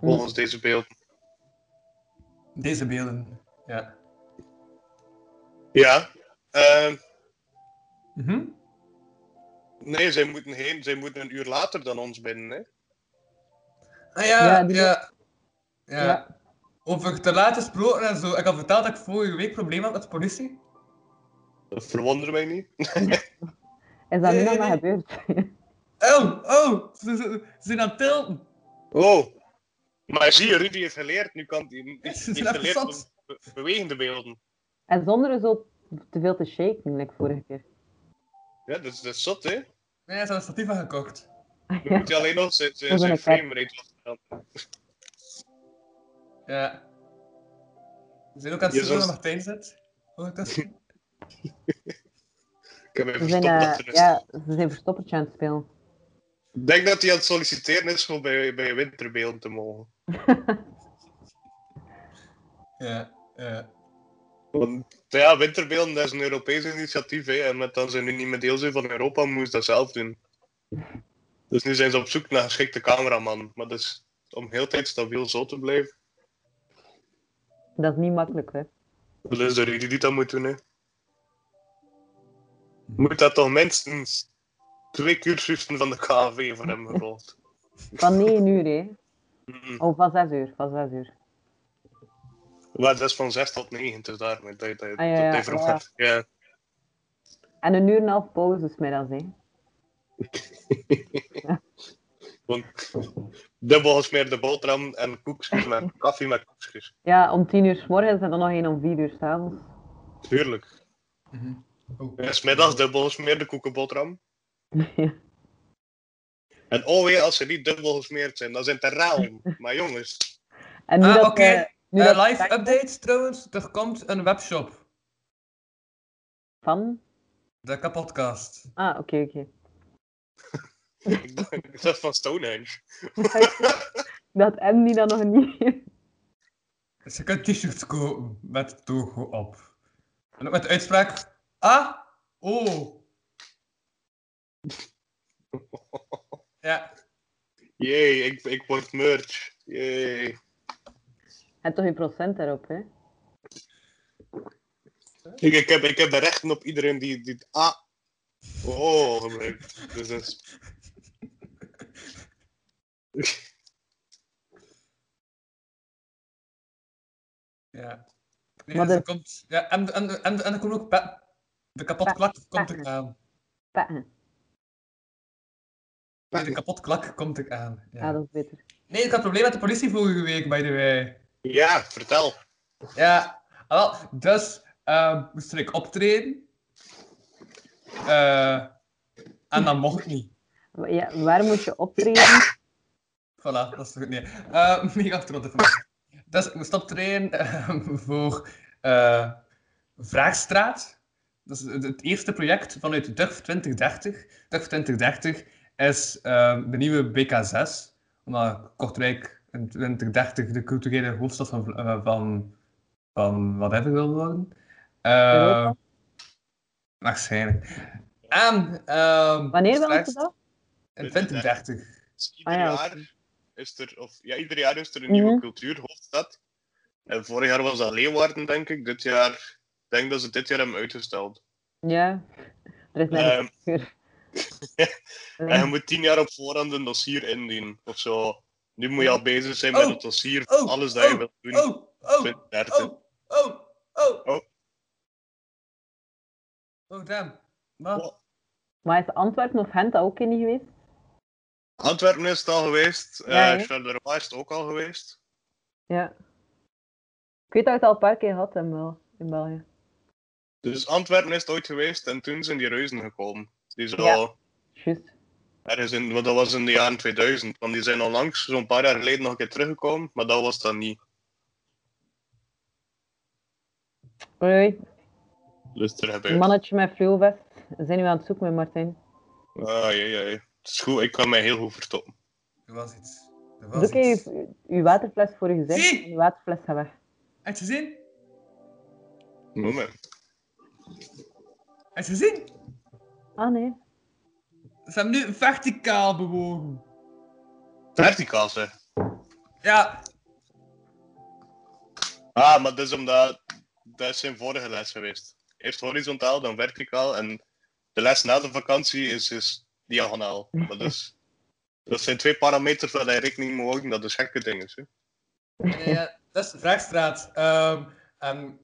Volgens deze beelden. Deze beelden. Ja. Ja. Ehm, Mhm. nee, zij moeten heen. Zij moeten een uur later dan ons binnen. Hè? Ah ja, Ja, ja. die- ja. Ja. Over te laat gesproken en zo. Ik had verteld dat ik vorige week problemen had met de politie. Dat verwondert mij niet. Is dat nu Nee, nog maar nee, gebeurd? Oh, oh, ze, ze- ze zijn aan het tilten. Oh. Maar zie je, Rudy heeft geleerd. Nu kan hij heeft Ze zijn even geleerd om zat. be- bewegende beelden. En zonder zo te veel te shaken, like vorige keer. Ja, dat is, dat is zot, hè? Nee, ze hadden een statief aangekocht. Dan moet je alleen nog zijn, zijn, Dat is zijn een framerate afstellen. Ja. Ze zijn ook aan het Je zoeken waar zult- Martijn zit. Ondertussen. Ik heb even Ze zijn, verstopt eh, dus. achter de ja, ze zijn verstoppertje aan het spelen. Ik denk dat hij aan het solliciteren is om bij, bij winterbeelden te mogen. Ja, ja. Want ja, Winterbeelden dat is een Europees initiatief. Hè, en met dat ze nu niet meer deel zijn van Europa, moeten ze dat zelf doen. Dus nu zijn ze op zoek naar een geschikte cameraman. Maar dat is om heel de tijd stabiel zo te blijven. Dat is niet makkelijk, hè. Dat is de reden die dat moet doen. Hè. Moet dat toch minstens twee cursussen van de KV voor hem gevolgd? Van 9 uur, hè. Mm. Of van 6 uur, van 6 uur. Maar dat is van 6 tot 9, dus daarmee dat je dat, Ah, ja, dat ja, hij verwacht. Ja. En een uur en een half pauze, is middags, hè. Want dubbel gesmeerde boterham en koekjes met koffie met koekjes. Ja, om 10 uur s morgens en dan nog één om 4 uur s'avonds. Tuurlijk. Oh. En smiddags dubbel gesmeerde koekenboterham. Ja. En oh ja, als ze niet dubbel gesmeerd zijn, dan zijn het er raam. Maar jongens, En nu Ah, dat, oké. eh, nu Eh, dat live update trouwens, er komt een webshop. van... De kapotcast. Ah, oké, oké. ik dacht- ik dacht van Stonehenge. dat Andy dat nog niet... Dus je kunt t-shirts kopen met het logo op. En ook met de uitspraak Ah, oh. Ja, Jee, ik, ik word merch. Jee. En toch je procent erop, hè. Ik, ik, heb, ik heb de rechten op iedereen die, die het A. Oh, gebruikt. Dus dat is ja. Nee, Maar dus de- er komt, ja en, en, en, en er komt ook pe- de kapotklak komt Pe- er aan. Patten. Nee, de kapotklak komt er aan. Ja, Ja. Ah, dat is beter. Nee, ik had een probleem met de politie vorige week, by the way. Ja, vertel. Ja, ah, wel, dus ehm, moest ik optreden. Eh, en dat mocht niet. Wa- Ja, waar moet je optreden? Voilà, dat is goed. Nee. Eh mega trots op me. Dus ik moest optreden ehm, voor eh, Vraagstraat. Dat is het- het eerste project vanuit DURF 2030. DURF 2030 is ehm, de nieuwe BK6. Omdat Kortrijk in 2030 de culturele hoofdstad van, Vla- eh, van, van whatever wil worden. Eh, Europa? waarschijnlijk. En, ehm, Wanneer wel straks ze dat? In 2030. Dus ieder Ah ja, oké. jaar is er, of ja, ieder jaar is er een Mhm. nieuwe cultuurhoofdstad. En vorig jaar was dat Leeuwarden, denk ik. Dit jaar, ik denk dat ze dit jaar hebben uitgesteld. Ja. Er is Ehm, nergens cultuur. En je Alleen- moet tien jaar op voorhand een dossier indienen, of zo. Nu moet je al bezig zijn Oh, met het dossier van oh, alles dat je wilt doen. Oh, oh, 2030. oh, oh, oh. Oh. Oh, damn. Wat? Oh. Maar is Antwerpen of Gent dat ook in niet geweest? Antwerpen is het al geweest, Ja, eh hè? Charleroi is het ook al geweest. Ja. Ik weet dat we het al een paar keer had in, Bel in België. Dus Antwerpen is het ooit geweest en toen zijn die reuzen gekomen. Die zo Ja. Juist. Ergens in, want dat was in de jaren 2000, want die zijn onlangs, zo'n paar jaar geleden, nog een keer teruggekomen, maar dat was dan niet. Oei, oei, Dus er heb een ik. mannetje met fluwelvest. We zijn nu aan het zoeken met Martijn. Ah, jee, jee. Het is goed, ik kan mij heel goed verstoppen. Er was iets. Er was Doe je iets. uw waterfles voor je gezicht Zie! en uw waterfles gaat weg. Heb je gezien? Moment. Heb je gezien? Ah nee. Ze hebben nu verticaal bewogen. Verticaal, zeg. Ja, Ah, maar dat is omdat... Dat is zijn vorige les geweest. Eerst horizontaal, dan verticaal, en de les na de vakantie is, is diagonaal. Maar dat, is, dat zijn twee parameters waar hij rekening mee houden, dat is gekke dingen, hè. Nee, ja, dat is de vraagstraat. Ehm, en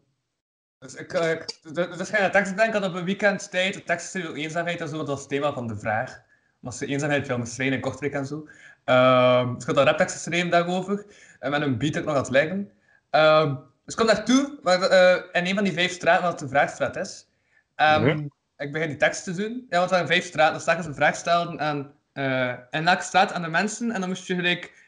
dus ik, eh, ik- d- d- dus ga je naar Texas denken dat op een weekend tijd, de textueel eenzaamheid en zo, dat was het thema van de vraag. Omdat ze eenzaamheid wil bestrijden in Kortrijk en zo. Ehm, dus ik had een raptekst geschreven daarover, en met een beat dat ik nog had liggen. Ehm, dus ik kom daartoe, waar, eh in een van die vijf straten, wat de vraagstraat is. Ehm, Mhm. Ik begin die tekst te doen. Ja, want er waren vijf straten, dus telkens een vraag stelden aan, eh in elke straat aan de mensen, en dan moest je gelijk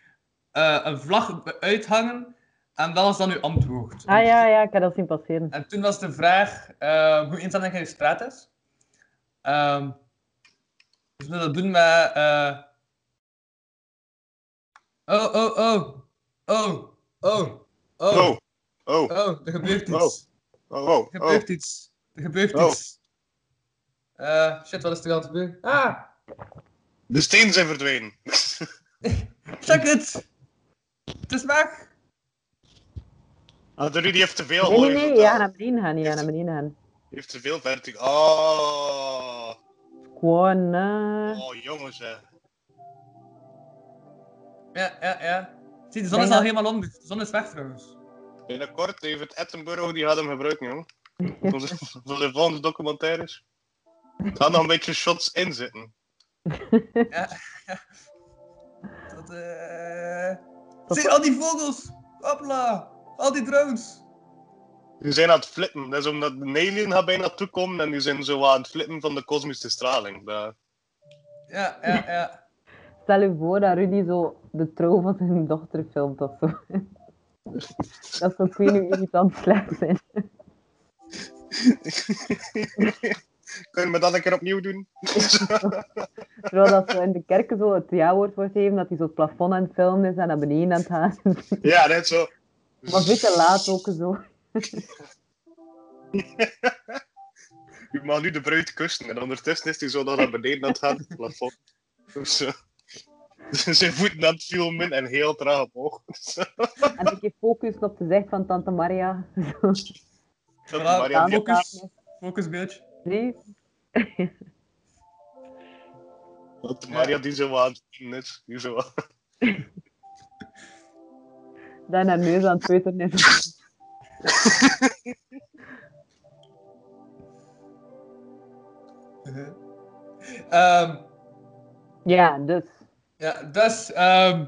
eh, een vlag be- uithangen en dat was dan uw antwoord. Ah ja, ja, ik heb dat zien passeren. En toen was de vraag eh, hoe eenzaam denk je dat je straat is. Ehm dus we dat doen met... eh, Oh, oh, oh. Oh, oh, oh. Oh, oh, Oh, er gebeurt iets. Oh. Oh, wow. Er oh. gebeurt iets. Er gebeurt Oh. iets. Eh, shit, wat is er aan het gebeuren? Ah, De stenen zijn verdwenen. check het! Het is weg! Ah, de Rudy heeft te veel. Nee, hoor, nee, totaal. ja, naar beneden gaan. Ja, naar beneden gaan. Die heeft te veel verticaal. Oh. Gewoon, eh, oh, jongens, hè. Ja, ja, ja. Zie, de zon is Bijna. al helemaal onder. De zon is weg trouwens. Binnenkort, David Attenborough, die gaat hem gebruiken, jongen. Voor zijn- Voor de volgende documentaires. Er gaan nog een beetje shots in zitten. Dat, eh... Dat- Zie, al die vogels! Hopla! Al die drones! Die zijn aan het flippen. Dat is omdat de alien gaat bijna toekomen en die zijn zo aan het flippen van de kosmische straling. Dat- Ja, ja, ja. stel je voor dat Rudy zo de trouw van zijn dochter filmt of zo. dat zou twee nu irritant slecht zijn. Kunnen we dat een keer opnieuw doen? Terwijl dat zo in de kerken zo het ja-woord wordt gegeven, dat hij zo het plafond aan het filmen is en naar beneden aan het gaan. ja, net zo. maar een beetje laat ook zo. U mag nu de bruid kussen. En ondertussen is hij zo dat naar beneden aan het gaat, het plafond. Dus, eh, zijn voeten aan het filmen en heel traag omhoog. En een keer focussen op de zicht van tante Maria. Dat Voilà, Marianne Daan. focus. Focus, bitch. Nee, Dat Maria die zo aan het doen is. Die zo aan- dat haar neus aan het peuteren is. Ehm, Ja, dus. ja, dus... ehm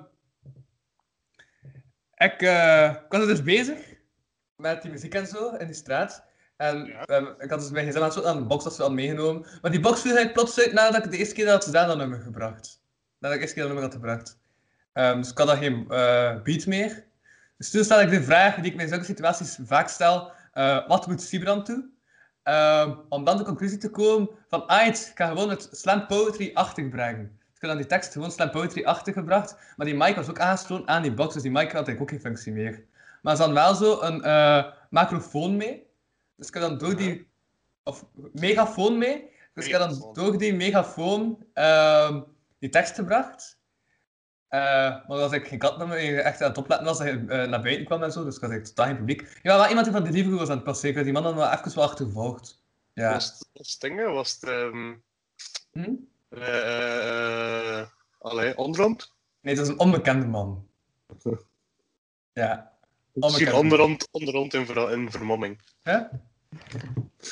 ik, eh, ik was dus bezig met die muziek en zo in die straat. En Ja. ehm, ik had dus mijn gezin aan het zoeken aan de box dat ze hadden meegenomen. Maar die box viel eigenlijk plots uit nadat ik de eerste keer dat ze daar dat nummer gebracht. Nadat ik de eerste keer dat nummer had gebracht. Ehm, dus ik had dan geen eh, beat meer. Dus toen stel ik de vraag die ik me in zulke situaties vaak stel. eh, wat moet Sibran toe? Ehm, om dan de conclusie te komen van, ah, het- ik ga gewoon het slam poetry-achtig brengen. Dus ik had dan die tekst gewoon slam poetry-achtig gebracht. Maar die mic was ook aangesloten aan die box, dus die mic had eigenlijk ook geen functie meer. Maar er zat wel zo een eh, microfoon mee. Dus ik had dan door die... Of megafoon mee. Dus ik had dan Megafoon. door die megafoon ehm, die tekst gebracht. Eh, maar als ik geen kat meer meer echt aan het opletten was, dat je eh, naar buiten kwam en zo, dus ik had eigenlijk totaal geen publiek. Ja, maar iemand die van de Deliveroo was aan het passeren, ik had die man dan wel even wel achtervolgd. Ja. Was het- was het dingen? Was het... ehm, Hm? eh, eh, eh, allee, onderhand? Nee, dat is een onbekende man. Ja. Ik zie Onbekend. onderhand, onderhand in, ver, in vermomming. Hè? Nee,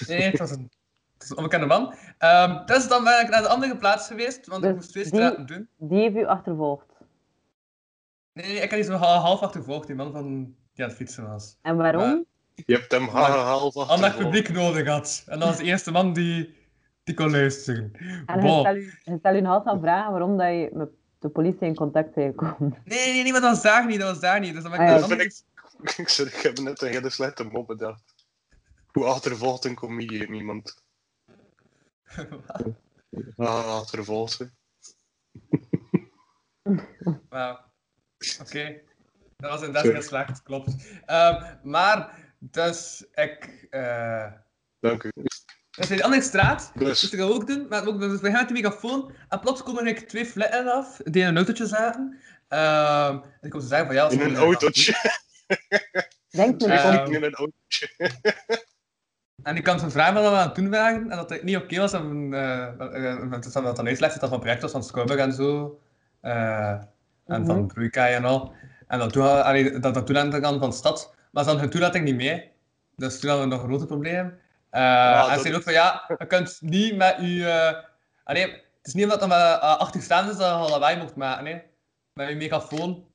nee, het was een, het is een onbekende man. Ehm, dus dan ben ik naar de andere plaats geweest, want ik Dus moest twee die- straten doen. Die heeft u achtervolgd. Nee, nee, ik had die zo ha- half achtervolgd, die man van, die aan het fietsen was. En waarom? Je hebt hem Omdat- half Omdat ik publiek nodig had. En dat was de eerste man die, die kon luisteren. en hij Bon. stel u, hij stel u een half aan vragen waarom dat je met de politie in contact bent gekomen. Nee, nee, nee, maar dat was daar niet, dat was daar niet. Dus dan ben ik Ah, ja. naar de andere- Sorry, ik heb net een hele slechte mop bedacht. Hoe achtervolgt een comedian iemand? Ah, achtervolgt ze. Wauw. Oké. Dat was inderdaad heel slecht, klopt. Ehm, maar, dus ik... eh Dank u. dat is de andere straat. Dus Dus, dat gaan we ook doen. Maar ook, dus we gaan met de megafoon. En plots komen er twee flatten af, die in een autootje zaten. Ehm, en ik kom ze zeggen van ja... dat is in een gewoon autootje. Denk Ze niet Eh, steken in een autootje. En ik kan zijn vraag wel aan toen vragen. En dat het niet oké was. En, eh eh, dat is dan wat dan uitlegt dat dat van project was van Scoburg en zo. eh, En van Broeikai en al. En dat toen, allee, dat, dat toen aan de kant van de stad. Maar ze hadden hun toelating niet mee. Dus toen hadden we nog een grote probleem. Eh, en ze dat zeiden is- ook van ja, je kunt niet met je. eh allee, het is niet omdat er maar eh, 80 staan is dat je al lawaai mocht maken. Hè, met je megafoon.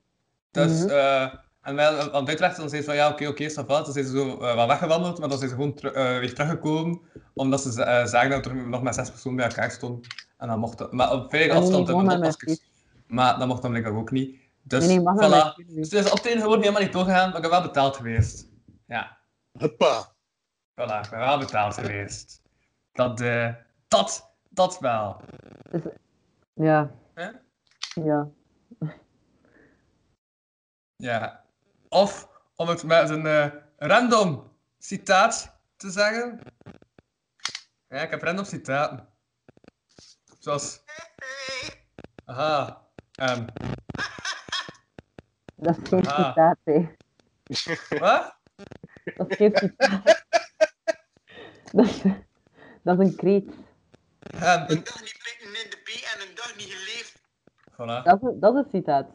Dus, Mhm. eh, en wij, aan het uitleggen, dan zei ze van ja, oké, oké, okay, Dan zijn ze zo eh, wat weggewandeld, maar dan zijn ze gewoon teru- eh, weer teruggekomen. Omdat ze eh, zagen dat er nog maar zes personen bij elkaar stonden. En dan mochten, maar op veilige Nee, nee, afstand gewoon hebben maar met mondmaskers. Maar dat mocht dan blijkbaar ook niet. Dus, Nee, nee, mag voilà. maar met Dus jullie. het is op het einde gewoon helemaal niet doorgegaan, maar ik ben wel betaald geweest. Ja, Hoppa. voilà, ik ben wel betaald geweest. Dat, eh, dat, dat wel. Ja. Hè? Ja. Ja. Of om het met een eh, random citaat te zeggen. Ja, ik heb random citaten. Zoals, aha, ehm, Dat is geen Ah. citaat, hè. wat? Dat is geen citaat. dat, is, dat is een kreet. Ehm, Een dag niet pitten in de pie en een dag niet geleefd. voilà. Dat is, dat is een citaat.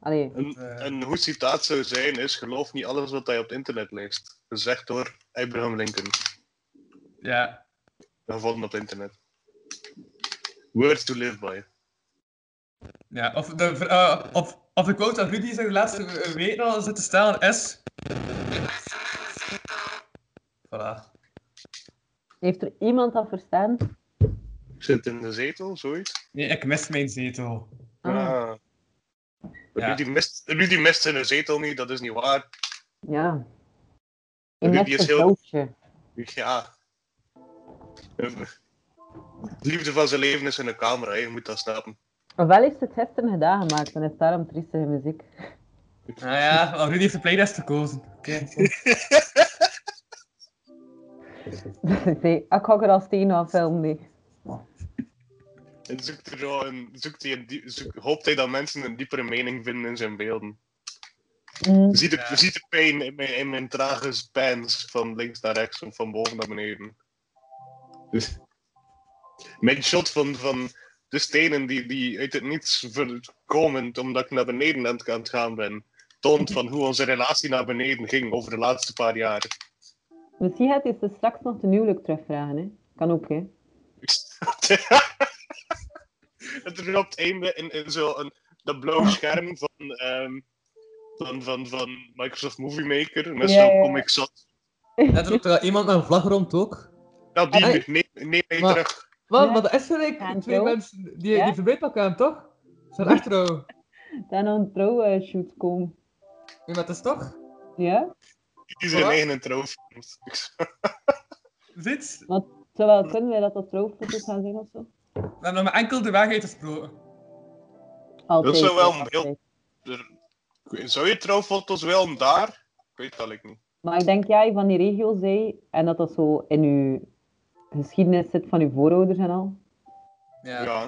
Allee, Een, een goed citaat zou zijn is, geloof niet alles wat hij op het internet leest. Gezegd door Abraham Lincoln. Ja, Gevonden op het internet. Words to live by. ja. Of, de, eh, of, of de quote dat Rudy zijn laatste eh, week al zit te staan, S. Voilà. heeft er iemand dat verstaan? Zit in de zetel, zoiets. Nee, ik mis mijn zetel. Ah, Ah. Ja. Rudy, mist, Rudy mist zijn zetel niet, dat is niet waar. ja. Die Een net is een heel- vrouwtje. Ja. De liefde van zijn leven is in een camera, hè, je moet dat snappen. Ofwel heeft ze het gisteren gedaan gemaakt en heeft daarom triestige muziek. Ah Nou ja, maar Rudy heeft de playlist gekozen. Oké. nee, ik ga er als tien aan filmen, nee. En zoekt hij, zo een, zoekt hij een die- zoek- hoopt hij dat mensen een diepere mening vinden in zijn beelden. Mm, Je ziet de, Ja. je ziet de pijn in mijn, in mijn trage spans van links naar rechts en van boven naar beneden. Dus- Mijn shot van, van de stenen die, die uit het niets ver- komen omdat ik naar beneden aan het- aan het gaan ben, toont van hoe onze relatie naar beneden ging over de laatste paar jaar. Misschien gaat hij ze straks nog ten huwelijk terugvragen, hè. Kan ook, hè. het er op het einde in, in zo'n dat Ah. blauwe scherm van, ehm, van, van, van Microsoft Movie Maker met Ja, ja, zo'n ja. comic zat. En er loopt er iemand met een vlag rond ook. Nou, Ah, die Hey. neem, neem mij Maar- terug. Maar, Ja. maar dat is gelijk Ja, en twee zo. mensen die, Ja. die verbreed elkaar, toch? Ze zijn echt trouw. Dan aan een trouwshoot komen. Nee, maar het is toch? Ja? Die zijn Wat? eigen intro. films. Ziet, we Zowel kunnen wij dat dat trouwfoto's gaan zijn of zo? hebben nog maar enkel de weg uitgesproken. Altijd. zou wel hè, een heel- altijd. Er- ik weet- Zou je trouwfoto's wel daar? Ik weet dat ik niet. Maar ik denk, jij van die regio zei, en dat dat zo in uw geschiedenis zit van uw voorouders en al. Ja. Ja.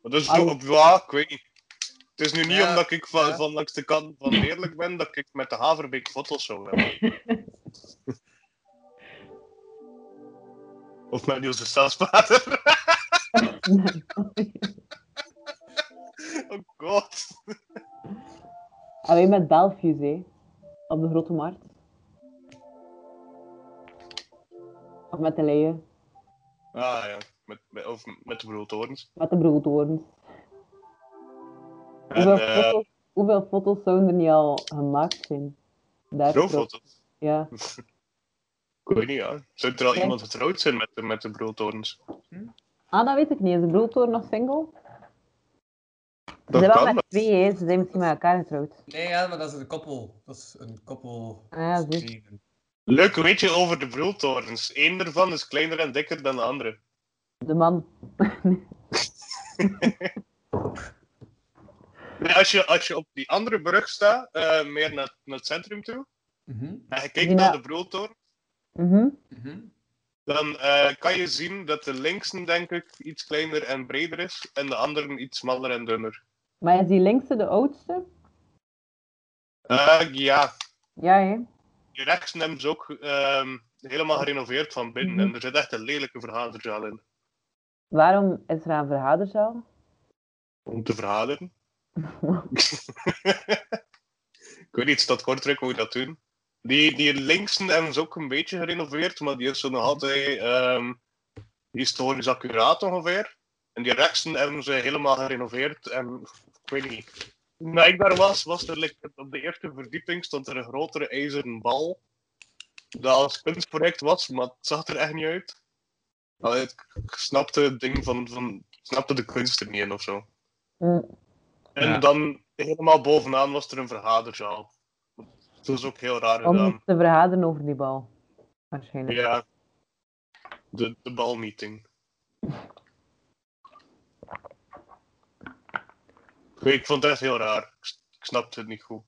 Maar dat is Au. toch op waar, ik weet niet. Het is nu niet Ja, omdat ik van, ja. van langs de kant van eerlijk ben dat ik met de Haverbeek foto's zou hebben. of met Jozef Stadspater. oh god. Alleen met Belfius, hè. Op de Grote Markt. Of met de leien. Ah ja, met, met, of met de broodtorens. Met de broodhoorns. En Hoeveel, eh foto's, hoeveel foto's zouden er niet al gemaakt zijn? Daar trouwfoto's. Ja. Ik weet niet, ja. Zou er al Ja. iemand getrouwd zijn met de, met de broodtorens? Ah, dat weet ik niet. Is de broodhoorn nog single? Dat ze zijn wel kan, met maar- twee, hè. Ze zijn misschien met elkaar getrouwd. Nee, ja, maar dat is een koppel. Dat is een koppel. Ah, ja, zie. Steven. Leuk weetje over de broodtorens. Eén daarvan is kleiner en dikker dan de andere. De man. Nee, als, je, als je op die andere brug staat, eh, meer naar, naar het centrum toe, Mhm, en je kijkt Ja. naar de broodtoren, Mhm. mhm. dan eh, kan je zien dat de linkse, denk ik, iets kleiner en breder is, en de andere iets smaller en dunner. Maar is die linkse de oudste? Eh, ja, Ja, hè. die rechts hebben ze ook ehm, helemaal gerenoveerd van binnen, Mhm. en er zit echt een lelijke vergaderzaal in. Waarom is er een vergaderzaal? Om te vergaderen. ik weet niet, dat Kortrijk hoe dat doen. Die, die linksen hebben ze ook een beetje gerenoveerd, maar die is zo nog altijd ehm, historisch accuraat ongeveer. En die rechtsen hebben ze helemaal gerenoveerd en ik weet niet. Toen ik daar was, was er like, op de eerste verdieping stond er een grotere ijzeren bal. Dat als kunstproject was, maar het zag er echt niet uit. Allee, ik snapte het ding van, van ik snapte de kunst er niet in of zo. Hm. En Ja. dan helemaal bovenaan was er een vergaderzaal. Dat was ook heel raar Om gedaan. te vergaderen over die bal. Waarschijnlijk. Ja. De, de balmeeting. Ik weet- Ik vond het echt heel raar. Ik s- Ik snapte het niet goed.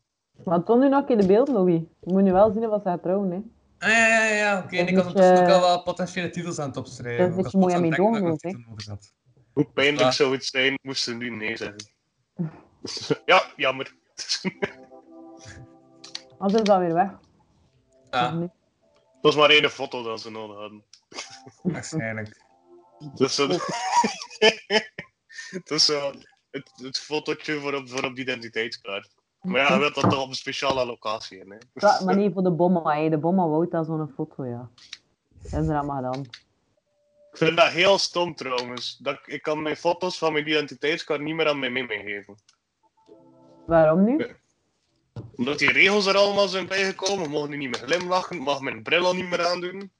Maar toon nu nog een keer de beeld, Louis. Je moet nu wel zien of ze gaat trouwen, hè. Ah, ja, ja, ja, oké. En ik had moet ondertussen je- ook al wel potentiële titels aan het opschrijven. eh, Dat is Ik wat was je plots aan moet het aan mee denken dat doen, ik een titel nodig had. Hoe pijnlijk Ja. zou het zijn, moesten nu nee zeggen. ja, jammer. Anders is dat weer weg. Ja, Nu. Het was maar één foto dat ze nodig hadden. waarschijnlijk. Dus dat... dat is zo het, het fotootje voor op, voor op de identiteitskaart. Maar ja, je wilt dat toch op een speciale locatie in, hè? Ja, maar niet voor de bomma, hè. de bomma wou dat zo'n foto, ja. En dat maar dan. Ik vind dat heel stom trouwens. Dat, ik- ik kan mijn foto's van mijn identiteitskaart niet meer aan mijn meme geven. Waarom nu? Omdat die regels er allemaal zijn bijgekomen, ik mocht nu niet meer glimlachen, ik mag mijn bril al niet meer aandoen.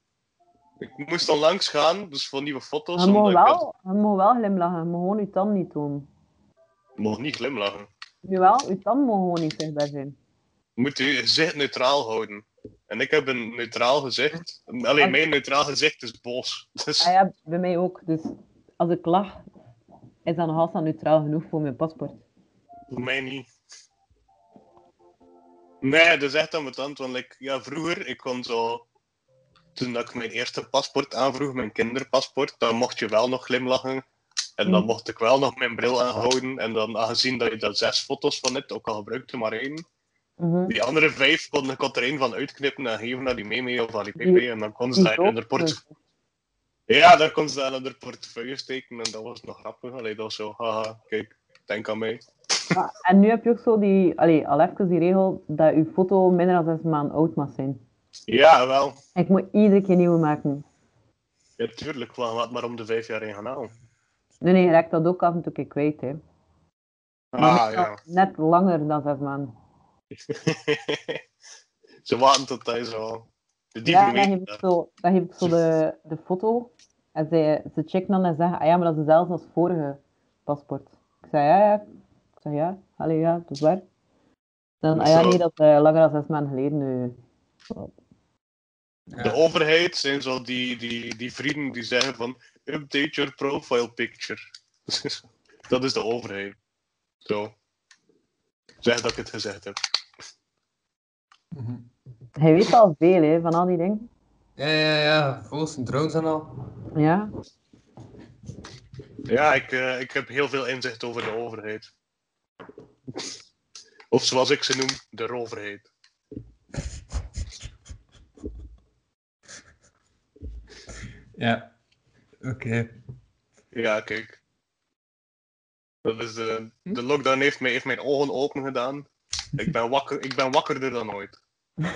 Ik moest dan langs gaan, dus voor nieuwe foto's. Je mag, omdat ik wel, je mag wel glimlachen, je mag gewoon je tand niet doen. dat- ik mocht niet glimlachen. Jawel, je tand mag gewoon niet zichtbaar zijn. Je moet je gezicht neutraal houden. En ik heb een neutraal gezicht. Alleen mijn neutraal gezicht is boos. Dus, Ah ja, bij mij ook. Dus als ik lach, is dat nog altijd neutraal genoeg voor mijn paspoort. Voor mij niet. Nee, dat is echt aan mijn tand. Want like, ja, vroeger, ik kon zo... Toen dat ik mijn eerste paspoort aanvroeg, mijn kinderpaspoort, dan mocht je wel nog glimlachen. En dan Mm. mocht ik wel nog mijn bril aanhouden. En dan, aangezien dat je daar zes foto's van hebt, ook al gebruikte maar één. Mhm. Die andere vijf kon ik er één van uitknippen en geven naar die meme of aan die Die- pp. En dan kon ze dat in Die de ook, portefeuille... dus. Ja, dan kon ze dat in de portefeuille steken. En dat was nog grappig. Allee, dat was zo, haha, kijk, denk aan mij. Maar- En nu heb je ook zo die, allee, al even die regel dat je foto minder dan zes maanden oud mag zijn. Ja, wel. Ik moet iedere keer nieuwe maken. Ja, tuurlijk. Waarom laat maar om de vijf jaar in gaan halen? Nee, nee, je raakt dat ook af en toe een keer kwijt, hè. Maar Ah, net- ja. Net langer dan zes maanden. Ze wachten tot hij zo... De dief Ja, ja, dan geef ik zo, dan geef ik zo de, de foto. En ze, ze checken dan en zeggen, ah ja, maar dat is dezelfde als het vorige paspoort. Ik zei, ja, ja. Ik zei, ja, allee, ja, dat is waar. Dan, ah ja, Zo. nee, dat is eh, langer dan zes maanden geleden nu. De overheid zijn zo die, die, die vrienden die zeggen van... Update your profile picture. dat is de overheid. Zo. Zeg dat ik het gezegd heb. Mhm. Hij weet al veel, hè, van al die dingen. Ja, ja, ja. Volgens de drones en al. Ja. Ja, ik, eh, ik heb heel veel inzicht over de overheid. Of zoals ik ze noem, de roverheid. Ja. Oké. Ja, kijk. Dat is de, de lockdown heeft, mij, heeft mijn ogen open gedaan. Ik ben, wakker, ik ben wakkerder dan ooit. Eh,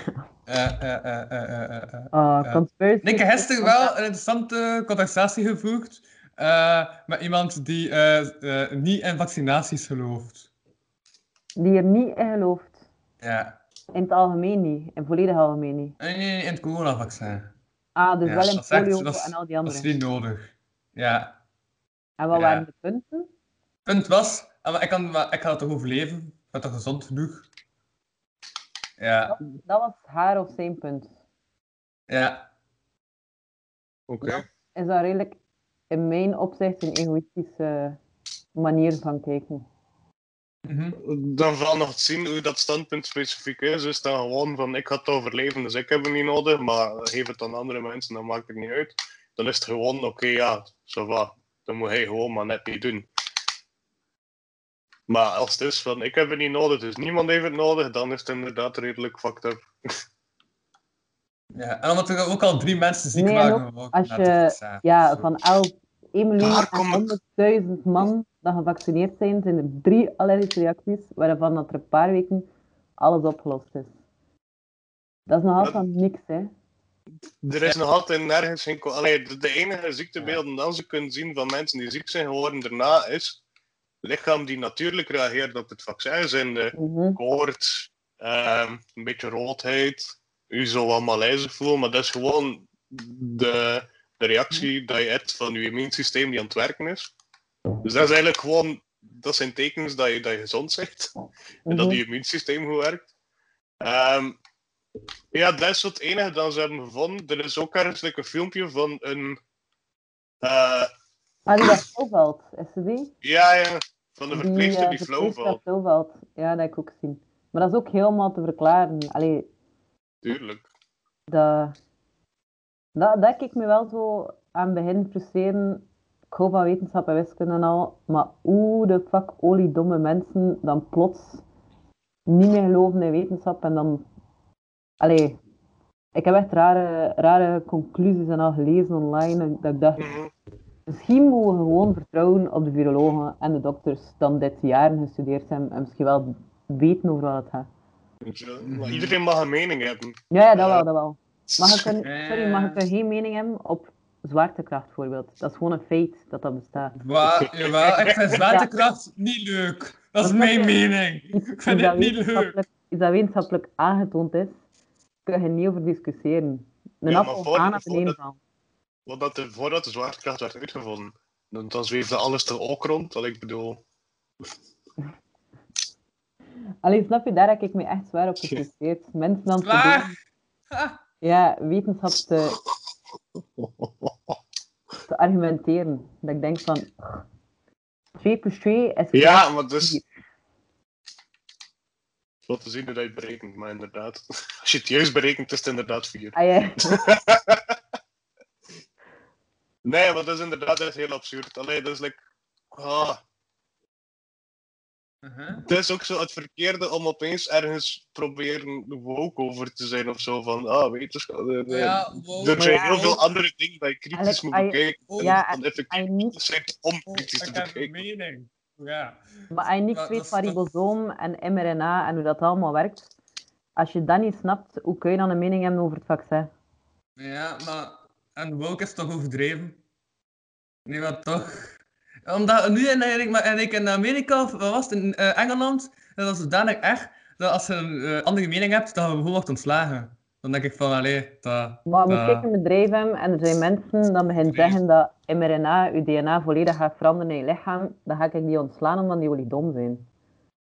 eh, eh, eh, eh, eh, eh. Ah, Ja. conspiracy. Nick Hester wel een interessante conversatie gevoerd eh, met iemand die eh, eh, niet in vaccinaties gelooft. Die er niet in gelooft. Ja. Eh, In het algemeen niet. In het volledig algemeen niet. Nee, nee, nee, in het coronavaccin. Ah, dus Ja, wel in dat is echt- polio dat is- en al die Dat is anderen. niet nodig. Ja. En wat ja. waren de punten? Punt was, ah, maar ik, kan, maar ik ga het toch overleven? Ik ben toch gezond genoeg? Ja. Dat was haar of zijn punt. Ja. Oké. is dat redelijk in mijn opzicht een egoïstische manier van kijken. Mhm. Dan vooral nog te zien hoe dat standpunt specifiek is. Is dan gewoon van ik ga het overleven, dus ik heb hem niet nodig. Maar geef het aan andere mensen, dan maakt het niet uit. Dan is het gewoon oké, ja, zo wat. Dan moet hij gewoon maar net niet doen. Maar als het is van ik heb het niet nodig, dus niemand heeft het nodig, dan is het inderdaad redelijk fucked up. ja. En omdat er ook al drie mensen ziek Nee, en waren. ook geworden als na je- het vaccin. Ja, Zo. van 11, 1 Daar kom ik. miljoen en 100.000 man dat gevaccineerd zijn, zijn er drie allergische reacties, waarvan dat er een paar weken alles opgelost is. Dat is nog altijd niks, hè. Er is nog altijd nergens geen. co- Allee, de, de enige ziektebeelden dat ze kunnen zien van mensen die ziek zijn geworden daarna is. lichaam die natuurlijk reageert op het vaccin. Zijn de Mhm. koorts, ehm, een beetje roodheid, u zo wat malaise voelen, maar dat is gewoon de, de reactie dat je hebt van je immuunsysteem die aan het werken is. Dus dat is eigenlijk gewoon, dat zijn tekens dat je, dat je gezond bent en dat Mhm. je immuunsysteem goed werkt. Ehm, ja, dat is het enige dat ze hebben gevonden. Er is ook ergens like, een filmpje van een eh, Ah, die dat flauwvalt, is ze die? ja, ja, van de Die, verpleegster eh, die flow verpleegster valt. flauwvalt. Ja, dat heb ik ook gezien. Maar dat is ook helemaal te verklaren. Allee, Tuurlijk. Dat, dat, dat ik me wel zo aan het begin frustreren. Ik hou van wetenschap en wiskunde en al. Maar hoe de fuck oliedomme mensen dan plots niet meer geloven in wetenschap en dan... Allee, ik heb echt rare, rare conclusies en al gelezen online. en Dat ik dacht, Mhm. Misschien moeten we gewoon vertrouwen op de virologen en de dokters dan dit jaren gestudeerd hebben en misschien wel weten over wat het gaat. Zo, Dus, eh, maar Iedereen mag een mening hebben. Ja, ja dat wel, dat wel. Maar je kunt, Eh. sorry, maar je kunt geen mening hebben op zwaartekracht bijvoorbeeld. Dat is gewoon een feit dat dat bestaat. Waar, jawel, ik vind zwaartekracht niet leuk. Dat is Wat mijn zeg je? mening. Iets Ik vind dit dat niet leuk. wetenschappelijk- Iets dat wetenschappelijk aangetoond is, kun je niet over discussiëren. Een maar appel voor- aan of voor beneden dat- vallen. Want dat de, voordat de zwaartekracht werd uitgevonden, dan, dan zweefde alles er ook rond. Wat ik bedoel, Allee, snap je, daar heb ik me echt zwaar op gefrustreerd. Mensen dan te Zwaar? doen- Ha, ja, wetenschap te, te argumenteren. Dat ik denk van... 2 plus 2 is Ja, want dus. Wat te zien dat hij het berekent, maar inderdaad. Als je het juist berekent, is het inderdaad 4. Ah, ja. Nee, maar dat is inderdaad dat is heel absurd. Alleen dat is like. ah, Mhm. uh-huh. het is ook zo het verkeerde om opeens ergens proberen woke over te zijn of zo. Van ah, wetenschap. eh, eh, Ja, wow. er maar zijn ja, heel veel ook- andere dingen die je kritisch Alex, moet I- bekijken. Oh, en Ja, dan effectief Als je niks- zijn om oh, kritisch te ik heb een bekijken. mening. Ja. maar als je niks Maar weet dat van is toch- ribosoom en mRNA en hoe dat allemaal werkt, als je dat niet snapt, hoe kun je dan een mening hebben over het vaccin? Ja, maar. En woke is toch overdreven? Nee, maar toch. Omdat nu in, eigenlijk, maar eigenlijk in Amerika, of wat was het, in eh, Engeland, dat is zodanig echt dat als je een eh, andere mening hebt, dat je gewoon wordt ontslagen. Dan denk ik van, allee, dat. Maar je moet dat- zeker een bedrijf hebben en er zijn mensen die beginnen zeggen dat mRNA je DNA volledig gaat veranderen in je lichaam, dan ga ik die ontslaan omdat die jullie dom zijn.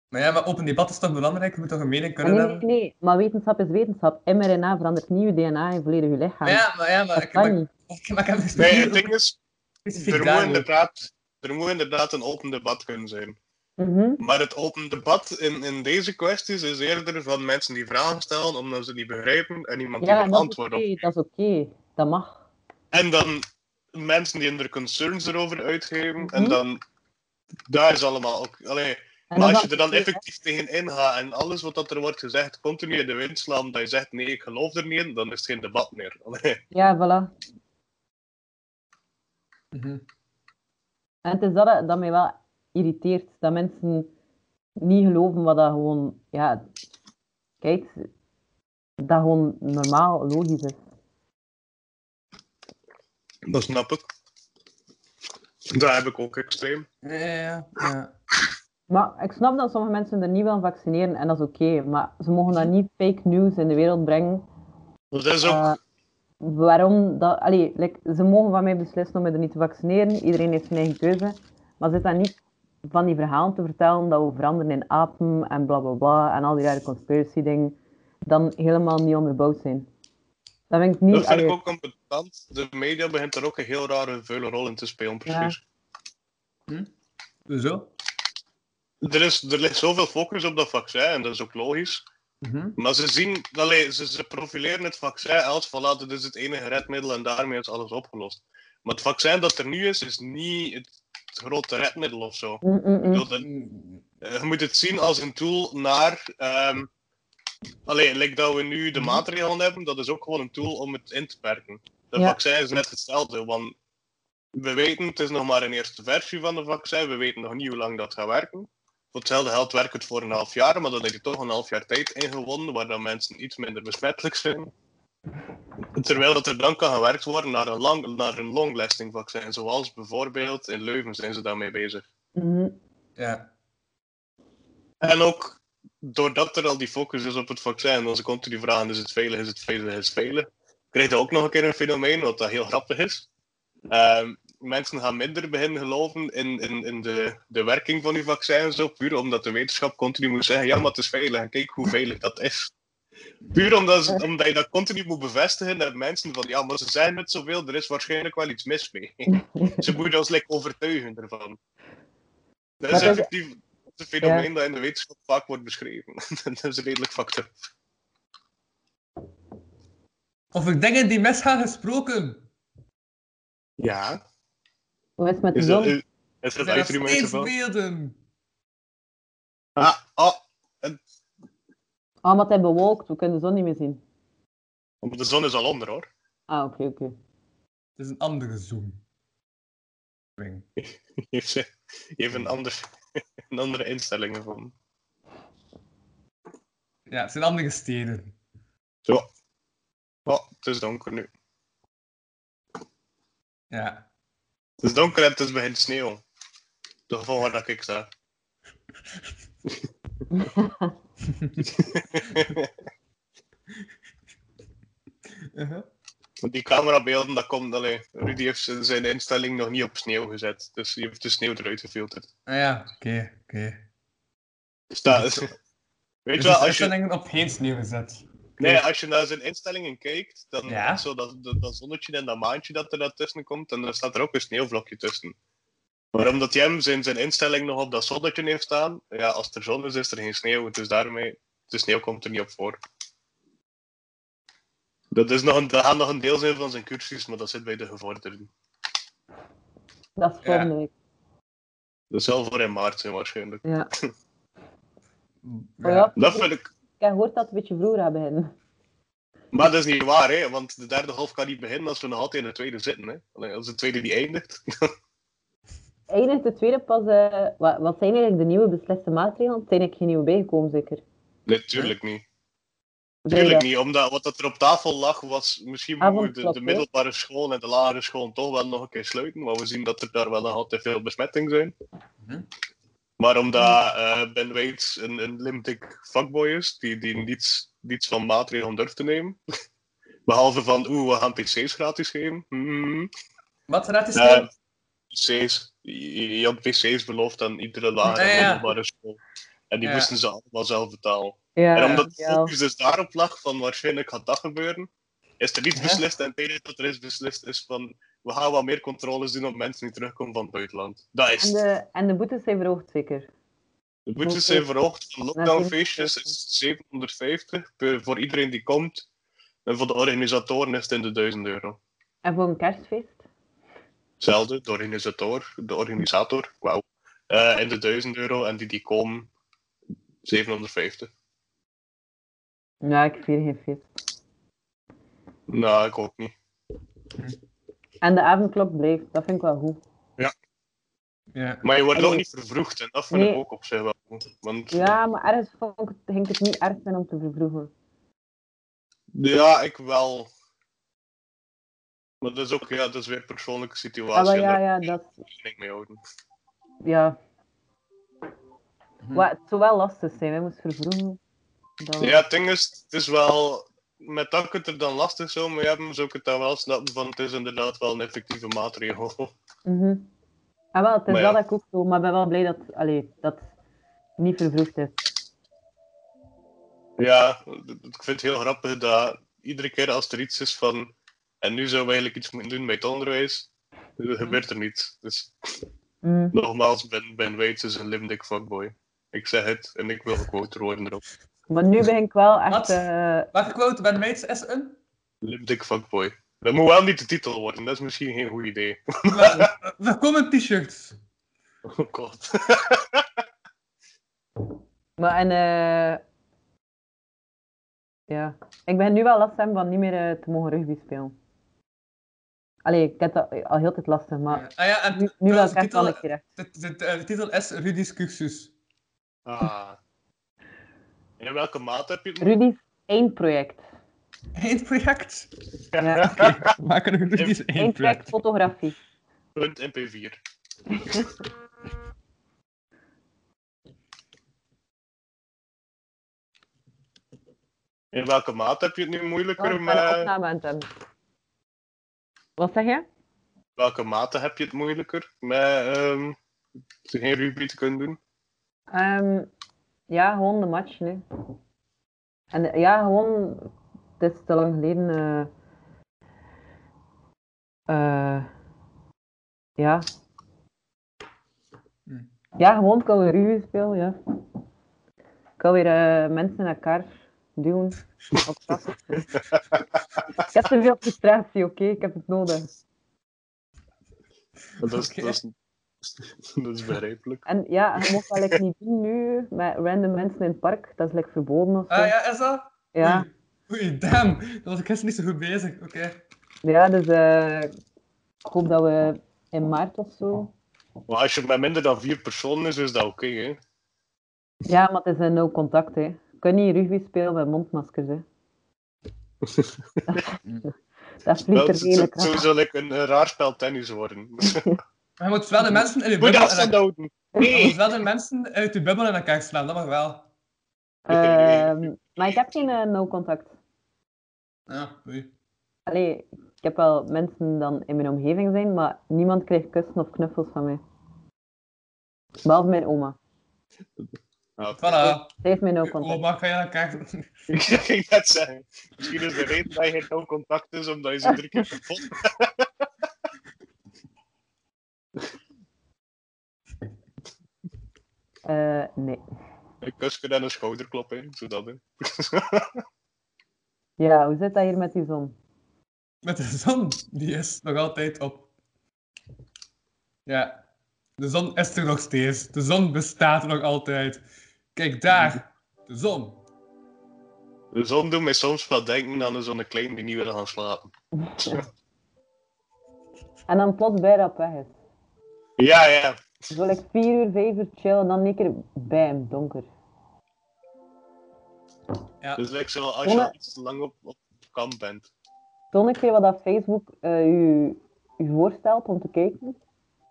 Maar ja, maar open debat is toch belangrijk? Je moet toch een mening Maar kunnen nee, nee, hebben? nee, maar wetenschap is wetenschap. mRNA verandert niet je DNA in volledig je lichaam. Maar ja, maar, ja, maar, dat ik, kan maar, niet. ik- maar ik heb het Nee, het ding is, specifiek er moet, daarover. inderdaad, er moet inderdaad een open debat kunnen zijn. Mhm. Maar het open debat in, in deze kwesties is eerder van mensen die vragen stellen omdat ze niet begrijpen en iemand die Ja, er dat is antwoord oké, op. dat is oké. Dat mag. En dan mensen die hun concerns erover uitgeven Mhm. en dan daar is allemaal ook. Allee, En maar dat als is je er dan oké, hè. effectief tegen ingaat en alles wat dat er wordt gezegd continu in de wind slaan, dat je zegt nee, ik geloof er niet in, dan is het geen debat meer. Allee, Ja, voilà. Mhm. En het is dat dat mij wel irriteert, dat mensen niet geloven wat dat gewoon, ja, kijk, dat gewoon normaal, logisch is. dat snap ik. Daar heb ik ook extreem. Ja, ja, ja. Maar ik snap dat sommige mensen er niet willen vaccineren en dat is oké, maar ze mogen dat niet fake news in de wereld brengen. Dus Dat is ook. Eh, waarom dat, allee, like, ze mogen van mij beslissen om me er niet te vaccineren, iedereen heeft zijn eigen keuze, maar zit dan niet van die verhalen te vertellen dat we veranderen in apen en bla bla bla en al die rare conspiracy dingen, dan helemaal niet onderbouwd zijn. Dat vind ik niet... Dat vind ik allee, ook competent. De media begint daar ook een heel rare vuile rol in te spelen, precies. Zo. Er, is, er ligt zoveel focus op dat vaccin, en dat is ook logisch. Mhm. Maar ze zien, allee, ze, ze profileren het vaccin als van laten dit is het enige redmiddel en daarmee is alles opgelost. Maar het vaccin dat er nu is, is niet het grote redmiddel of zo. mm, mm, Ik mm. bedoel, dat- eh, je moet het zien als een tool naar. ehm Alleen, like dat we nu de maatregelen hebben, dat is ook gewoon een tool om het in te perken. Dat Ja. vaccin is net hetzelfde, want we weten, het is nog maar een eerste versie van de vaccin, we weten nog niet hoe lang dat gaat werken. Voor hetzelfde geld werkt het voor een half jaar, maar dan heb je toch een half jaar tijd ingewonnen, waar dan mensen iets minder besmettelijk zijn. Terwijl dat er dan kan gewerkt worden naar een, lang, naar een long-lasting vaccin, zoals bijvoorbeeld in Leuven zijn ze daarmee bezig. Mhm. Ja. En ook doordat er al die focus is op het vaccin, dan ze continu vragen: is het veilig, is het veilig, is het veilig? Krijg je ook nog een keer een fenomeen, wat dat heel grappig is. Ehm, mensen gaan minder beginnen geloven in, in, in de, de werking van die vaccins, zo, puur omdat de wetenschap continu moet zeggen: ja, maar het is veilig, en kijk hoe veilig dat is. Puur omdat, ze- omdat je dat continu moet bevestigen aan mensen van ja, maar ze zijn met zoveel, er is waarschijnlijk wel iets mis mee. ze moeten ons like, overtuigen ervan. Maar Dat is dat- effectief dat is een fenomeen dat in de wetenschap vaak wordt beschreven. dat is redelijk fucked up. Of ik dingen die misgaan gesproken. Ja. Hoe is het met de Is dat, zon? is, is Er dat zijn nog uit drie steeds mensen wel? beelden. Ah, oh, Ah, maar het is bewolkt. We kunnen de zon niet meer zien. want de zon is al onder hoor. Ah, oké, oké. Het is een andere zoom. Ring. Je heeft, je heeft een, ander, een andere instelling gevonden. Ja, het zijn andere steden. Zo. Oh, het is donker nu. Ja. Het is donker en het is begint sneeuw. De volgende dat ik sta. Uh-huh. Want die camerabeelden, dat komt alleen. Rudy heeft zijn- zijn instelling nog niet op sneeuw gezet. Dus die heeft de sneeuw eruit gefilterd. Ah ja, oké, oké. Dus dat is- Weet Dus je wel, de als je, instellingen op geen sneeuw gezet. nee, als je naar zijn instellingen kijkt, dan Ja. zo dat, dat, dat zonnetje en dat maantje dat er daartussen komt, en dan staat er ook een sneeuwvlokje tussen. Maar omdat hij hem zijn, zijn instelling nog op dat zonnetje heeft staan, ja, als er zon is, is er geen sneeuw. Dus daarmee, de sneeuw komt er niet op voor. Dat, is nog een, dat gaat nog een deel zijn van zijn cursus, maar dat zit bij de gevorderden. Dat is Ja. volgende week. Dat zal voor in maart zijn waarschijnlijk. Ja. Ja. Oh ja, Dat vind ik. ik heb gehoord dat het een beetje vroeger gaat beginnen. Maar dat is niet waar, hè? Want de derde golf kan niet beginnen als we nog altijd in de tweede zitten, hè? Allee, Als de tweede die eindigt. Eindigt de tweede pas... eh, wat, wat zijn eigenlijk de nieuwe besliste maatregelen? Er zijn eigenlijk geen nieuwe bijgekomen, zeker? Natuurlijk niet. Vrijdag. Natuurlijk niet, omdat wat dat er op tafel lag was. Misschien moeten we de, Avondklok, de hè? middelbare school en de lagere school toch wel nog een keer sluiten. Want we zien dat er daar wel nog altijd veel besmettingen zijn. Mhm. Maar omdat eh, Ben Waits een, een limtik vakboy is, die, die niets, niets van maatregelen durft te nemen. Behalve van, oeh, we gaan PC's gratis geven. Eh, Hmm. Wat gratis Ja, sneeuw? PC's. Je je had PC's beloofd aan iedere lagere Ja, ja. middelbare school. En die Ja. moesten ze allemaal zelf betalen. Ja, en omdat de ja. focus dus daarop lag van waarschijnlijk gaat dat gebeuren, is er niet Ja. beslist. En het enige dat er is beslist is van we gaan wat meer controles doen op mensen die terugkomen van het buitenland. Dat is En het. de, en de boetes zijn verhoogd, zeker? De boetes zijn verhoogd. De lockdownfeestjes is 750 per, voor iedereen die komt. En voor de organisatoren is het in de 1000 euro. En voor een kerstfeest? Hetzelfde, de organisator, de organisator, wauw. Eh, in de 1000 euro en die die komen 750. Ja, ik vier geen feest. Nou, ik ook niet. En de avondklok blijft, dat vind ik wel goed. Ja. Maar je wordt Nee. ook niet vervroegd en dat vind ik Nee. ook op zich wel goed. Want ja. Ja, maar ergens vond ik, het- ging ik het niet erg vinden om te vervroegen. ik wel. Maar dat is ook ja, dat is weer persoonlijke Ah, wel, situatie. ja, en daar ja, dat... moet ik niet mee houden. Ja. Mhm. Hm. Maar het zou wel lastig zijn, hè, moest vervroegen. Dan... Ja, het ding is, het is wel. Met dat kunt het er dan lastig zo, maar je hebt zo het dan wel snappen van het is inderdaad wel een effectieve maatregel. Mhm. Ah, wel, het is Maar ja. wel dat ik ook zo, maar ik ben wel blij dat, allee, dat het niet vervroegd is. Ja, ik vind het heel grappig dat iedere keer als er iets is van. En nu zouden we eigenlijk iets moeten doen bij het onderwijs. Mhm. Dat gebeurt er niet. Dus Mm. nogmaals, Ben, ben Waits is een limdik fuckboy. Ik zeg het en ik wil gequoteerd worden erop. Maar nu ben ik wel echt... Wat? eh, Waar gequote Ben Waits is een? Limdik fuckboy. Dat moet wel niet de titel worden, dat is misschien geen goed idee. We, we komen t-shirts. Oh god. Maar en eh ja, ik ben nu wel last hebben van niet meer eh, te mogen rugby spelen. Allee, ik heb dat al heel tijd last van, maar Ah ja, en nu, nu wel trouwens, ik echt wel de, een keer. titel, de, de- de titel is Rudy's cursus. Ah. In welke maat heb je het? Rudy's één project. Eén project. Ja, We maken er Rudy's één één project project. fotografie. Punt MP4. In welke maat heb je het nu Ja, moeilijker Oh, ik ben een met... opname aan het hebben. Wat zeg je? welke mate heb je het moeilijker met ehm, geen rugby te kunnen doen? Ehm, ja, gewoon de match nu. En eh, ja, gewoon, het is te lang geleden. eh, eh, ja. Hm. Ja, gewoon kan weer ruw spelen, ja. Ik kan weer eh, mensen in elkaar duwen. Ook vast. ik heb te veel frustratie, oké? Ik heb het nodig. Dat is, dat is, dat is begrijpelijk. En ja, je mocht dat like, niet doen nu met random mensen in het park. Dat is like, verboden of zo. Ah ja, is dat? ja. Oei, damn. Dat was ik gisteren niet zo goed bezig. Oké. Ja, dus eh, ik hoop dat we in maart of zo. Maar als je met minder dan vier personen is, is dat oké, hè? Ja, maar het is een no contact, hè. Je kunt niet rugby spelen met mondmaskers, hè. dat Wel, vliegt het er zou redelijk het zou rap. zo like een eh, raar spel tennis worden. Maar je moet wel de mensen in je Moet bubbel, in afstand elkaar- houden. je Nee! moet wel de mensen uit je bubbel in elkaar slaan, dat mag wel. Ehm, maar ik heb geen eh, no contact. Ja, oei. Allee, ik heb wel mensen dan in mijn omgeving zijn, maar niemand krijgt kussen of knuffels van mij. Behalve mijn oma. Voilà. Zij heeft mij no contact. Oh, maar kan je aan elkaar... Ah, Ik ging net zeggen. Misschien is de reden dat je no contact is, omdat je ze drie keer kapot. Eh, nee. Een kusje en een schouderklop, hè? Zo dat, hè? Ja, hoe zit dat hier met die zon? Met de zon, die is nog altijd op. Ja, de zon is er nog steeds. De zon bestaat nog altijd. Kijk daar, de zon. De zon doet mij soms wel denken aan zo'n klein die niet wil gaan slapen. En dan plots bij dat weg is. Ja, ja. Zo like 4 uur, 5 uur chill en dan een keer bam, donker. Ja, Dus lijkt zo als je Zonne- al iets te lang op, op kamp bent. Toon ik je wat dat Facebook eh, u, u voorstelt om te kijken?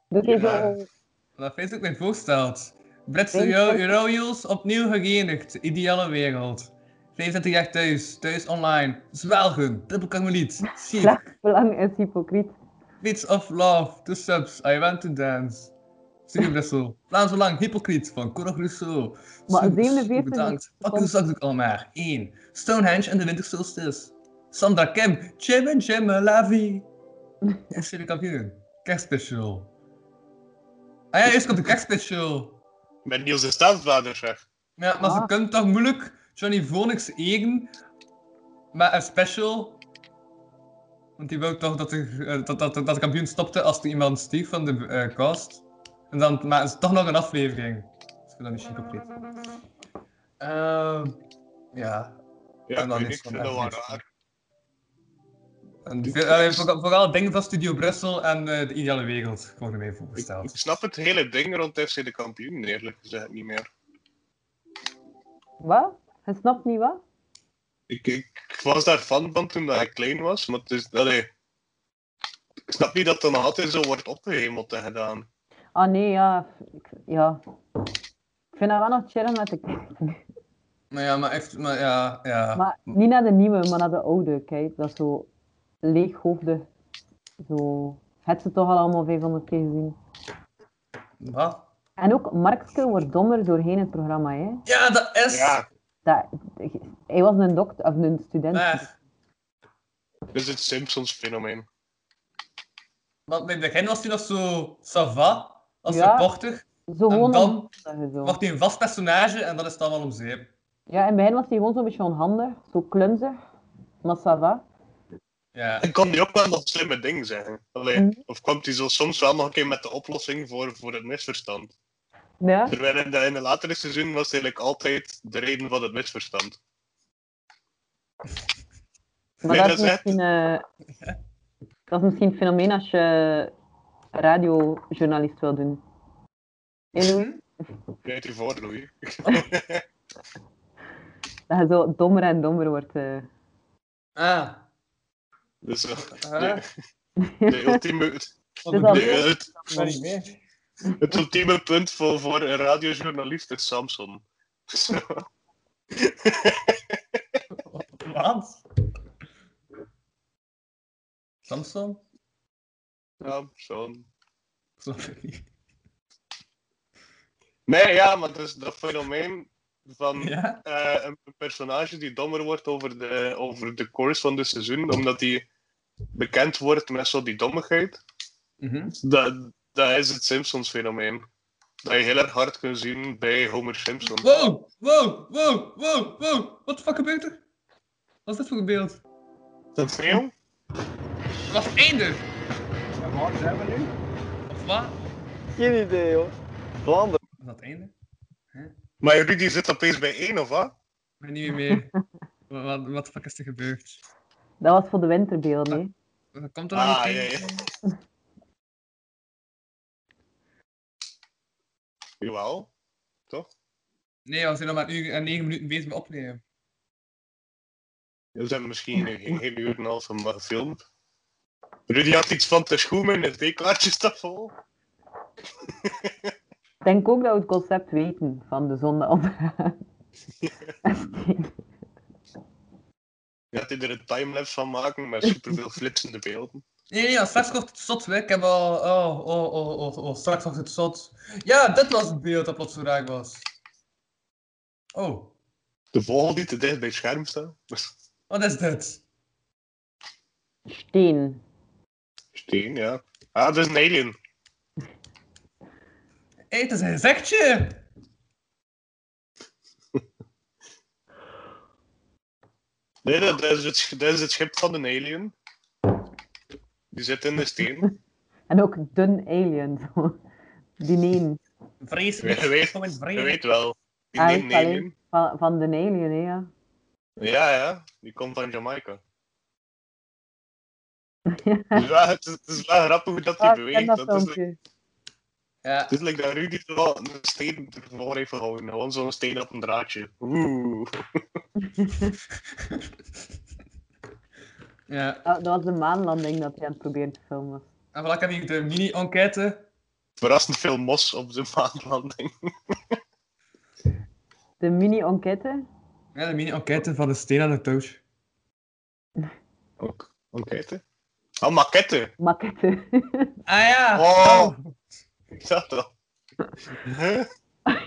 Doet hij Ja. zo... dat Facebook mij voorstelt. Britse Denk Euro- dat- Eurojules opnieuw geënigd. Ideale wereld. 25 jaar thuis, thuis online. Zwelgen, dubbelkamer niet. Chic. Slachtsbelang is hypocriet. Beats of Love, The Subs, I Want to Dance. Studio Brussel, Vlaams Belang, Hypocriet van Conor Rousseau. Maar Soep, 47 Bedankt. Pak uw zakdoek al maar. 1. Stonehenge en de Wintersolstice. Sandra Kemp, Jim en Jim, la vie. FC de kampioen. Kerstspecial. Ah ja, eerst komt de kerstspecial. Met Niels de Stadsvader, zeg. Ja, maar ze Ah. kunnen toch moeilijk Johnny Vonix eigen met een special. Want die wou toch dat de, eh, dat, dat, dat de kampioen stopte als er iemand stief van de eh, cast. En dan maken ze toch nog een aflevering. Als ik dat niet chic opleed. Ehm ja. Ja, En dan ik weet is niet, ik van vind dat wel echt niks. raar. En veel- eh, vooral, vooral dingen van Studio Brussel en eh, de ideale wereld worden mij Ik, ik voorgesteld. snap het hele ding rond FC de kampioen, eerlijk gezegd, niet meer. Wat? Je snapt niet wat? Ik, ik was daar fan van toen dat ik klein was, maar het is... Allee, ik snap niet dat er nog altijd zo wordt opgehemeld en gedaan. Ah nee, ja. Ik, ja. Ik vind dat wel nog chillen met de kijken. Maar ja, maar echt, maar ja, ja. Maar niet naar de nieuwe, maar naar de oude. Kijk, dat is zo leeghoofdig. Zo... Het ze toch al allemaal 500 keer gezien. Wat? En ook Markske wordt dommer doorheen het programma. Hè? Ja, dat is! Ja, Dat, hij was een dokter of een student. Maar, dat is het Simpsons-fenomeen. want bij het begin was hij nog zo sava, als Ja. reporter. Zo gewoon dan- onhandig, zo. Wordt hij een vast personage en dat is dan wel om zeep. Ja, in het begin was hij gewoon zo'n beetje onhandig, zo klunzig. Maar ça va. Ja. En kon hij ook wel nog slimme dingen zeggen. Allee, Mhm. Of kwam hij zo soms wel nog een keer met de oplossing voor, voor het misverstand. Ja. Terwijl in de, in de latere seizoen was hij eigenlijk altijd de reden van het misverstand. Maar Nee, dat, is dat is echt- misschien, eh, dat is misschien een fenomeen als je radiojournalist wil doen. En hoe- Mhm. Krijgt u voor, Louis. dat je zo dommer en dommer wordt. eh. Ah. Dus, eh, Ah. de Wat ultieme, Dus bedoel dat- de- je? het, Ik ben niet mee. het ultieme punt voor, voor een radiojournalist is Samson. Wat? Samson? Samson. Snap ik niet. Nee, ja, maar dat is dat fenomeen van Ja? eh, een personage die dommer wordt over de, over de course van de seizoen, omdat hij bekend wordt met zo die dommigheid. Mhm. Dat, dat is het Simpsons fenomeen. Dat je heel erg hard kunt zien bij Homer Simpson. Wow, wow, wow, wow, wow. Wat de fuck gebeurt er? Wat is dit voor een beeld? Dat film? Wat eender? En waar zijn we nu? Of wat? Geen idee, hoor. Vlaanderen. Is dat einde? Maar Rudy zit opeens bij één, of wat? Ik ben niet meer mee. wat, wat, wat de fuck is er gebeurd? Dat was voor de winterbeelden, hè. Komt er nog Ah, een ja, einde? ja. Jawel. Nee, we zijn nog maar een uur en negen minuten bezig met opnemen. We zijn misschien een hele uur en een half van gefilmd. Rudy had iets van te schoenen in het D-kaartje staat vol. Ik denk ook dat we het concept weten van de zon dat ondergaat. Je had er een timelapse van maken met superveel flitsende beelden. Nee, nee, ja, straks wordt het zot. hè. Ik heb al... Oh, oh, oh, oh, oh, straks wordt het zot. Ja, dat was het beeld dat plots zo raak was. Oh, De vogel die te dicht bij het scherm staat. wat is dit? Steen. Steen, ja. Ah, dat is een alien. Hé, het is een gezichtje! Nee, dat dat is, het, sch- dat is het schip van een alien. Die zit in de steen. En ook dun alien. Zo. Die neem. Vreselijk. Je weet- Kom in vrede. Je weet wel. Die Ah, ik neemt een wel, hè. alien. Van, van de alien, hè, ja. Ja, ja. Die komt van Jamaica. Het is wel, het is, het is wel grappig dat hij Ah, ik ken beweegt. dat want het is like- filmpje. Ja, Het is like dat Rudy er al een steen ervoor heeft gehouden. Gewoon zo'n steen op een draadje. Oeh. ja. Dat, dat was de maanlanding dat hij aan het proberen te filmen was. En voilà, ik heb hier de mini-enquête. Verrassend veel mos op de maanlanding. De mini-enquête. Ja, de mini-enquête van de steen aan de touch. Ook. Enquête? Oh, maquette. Maquette. Ah ja! Oh. Ik zag dat. Huh?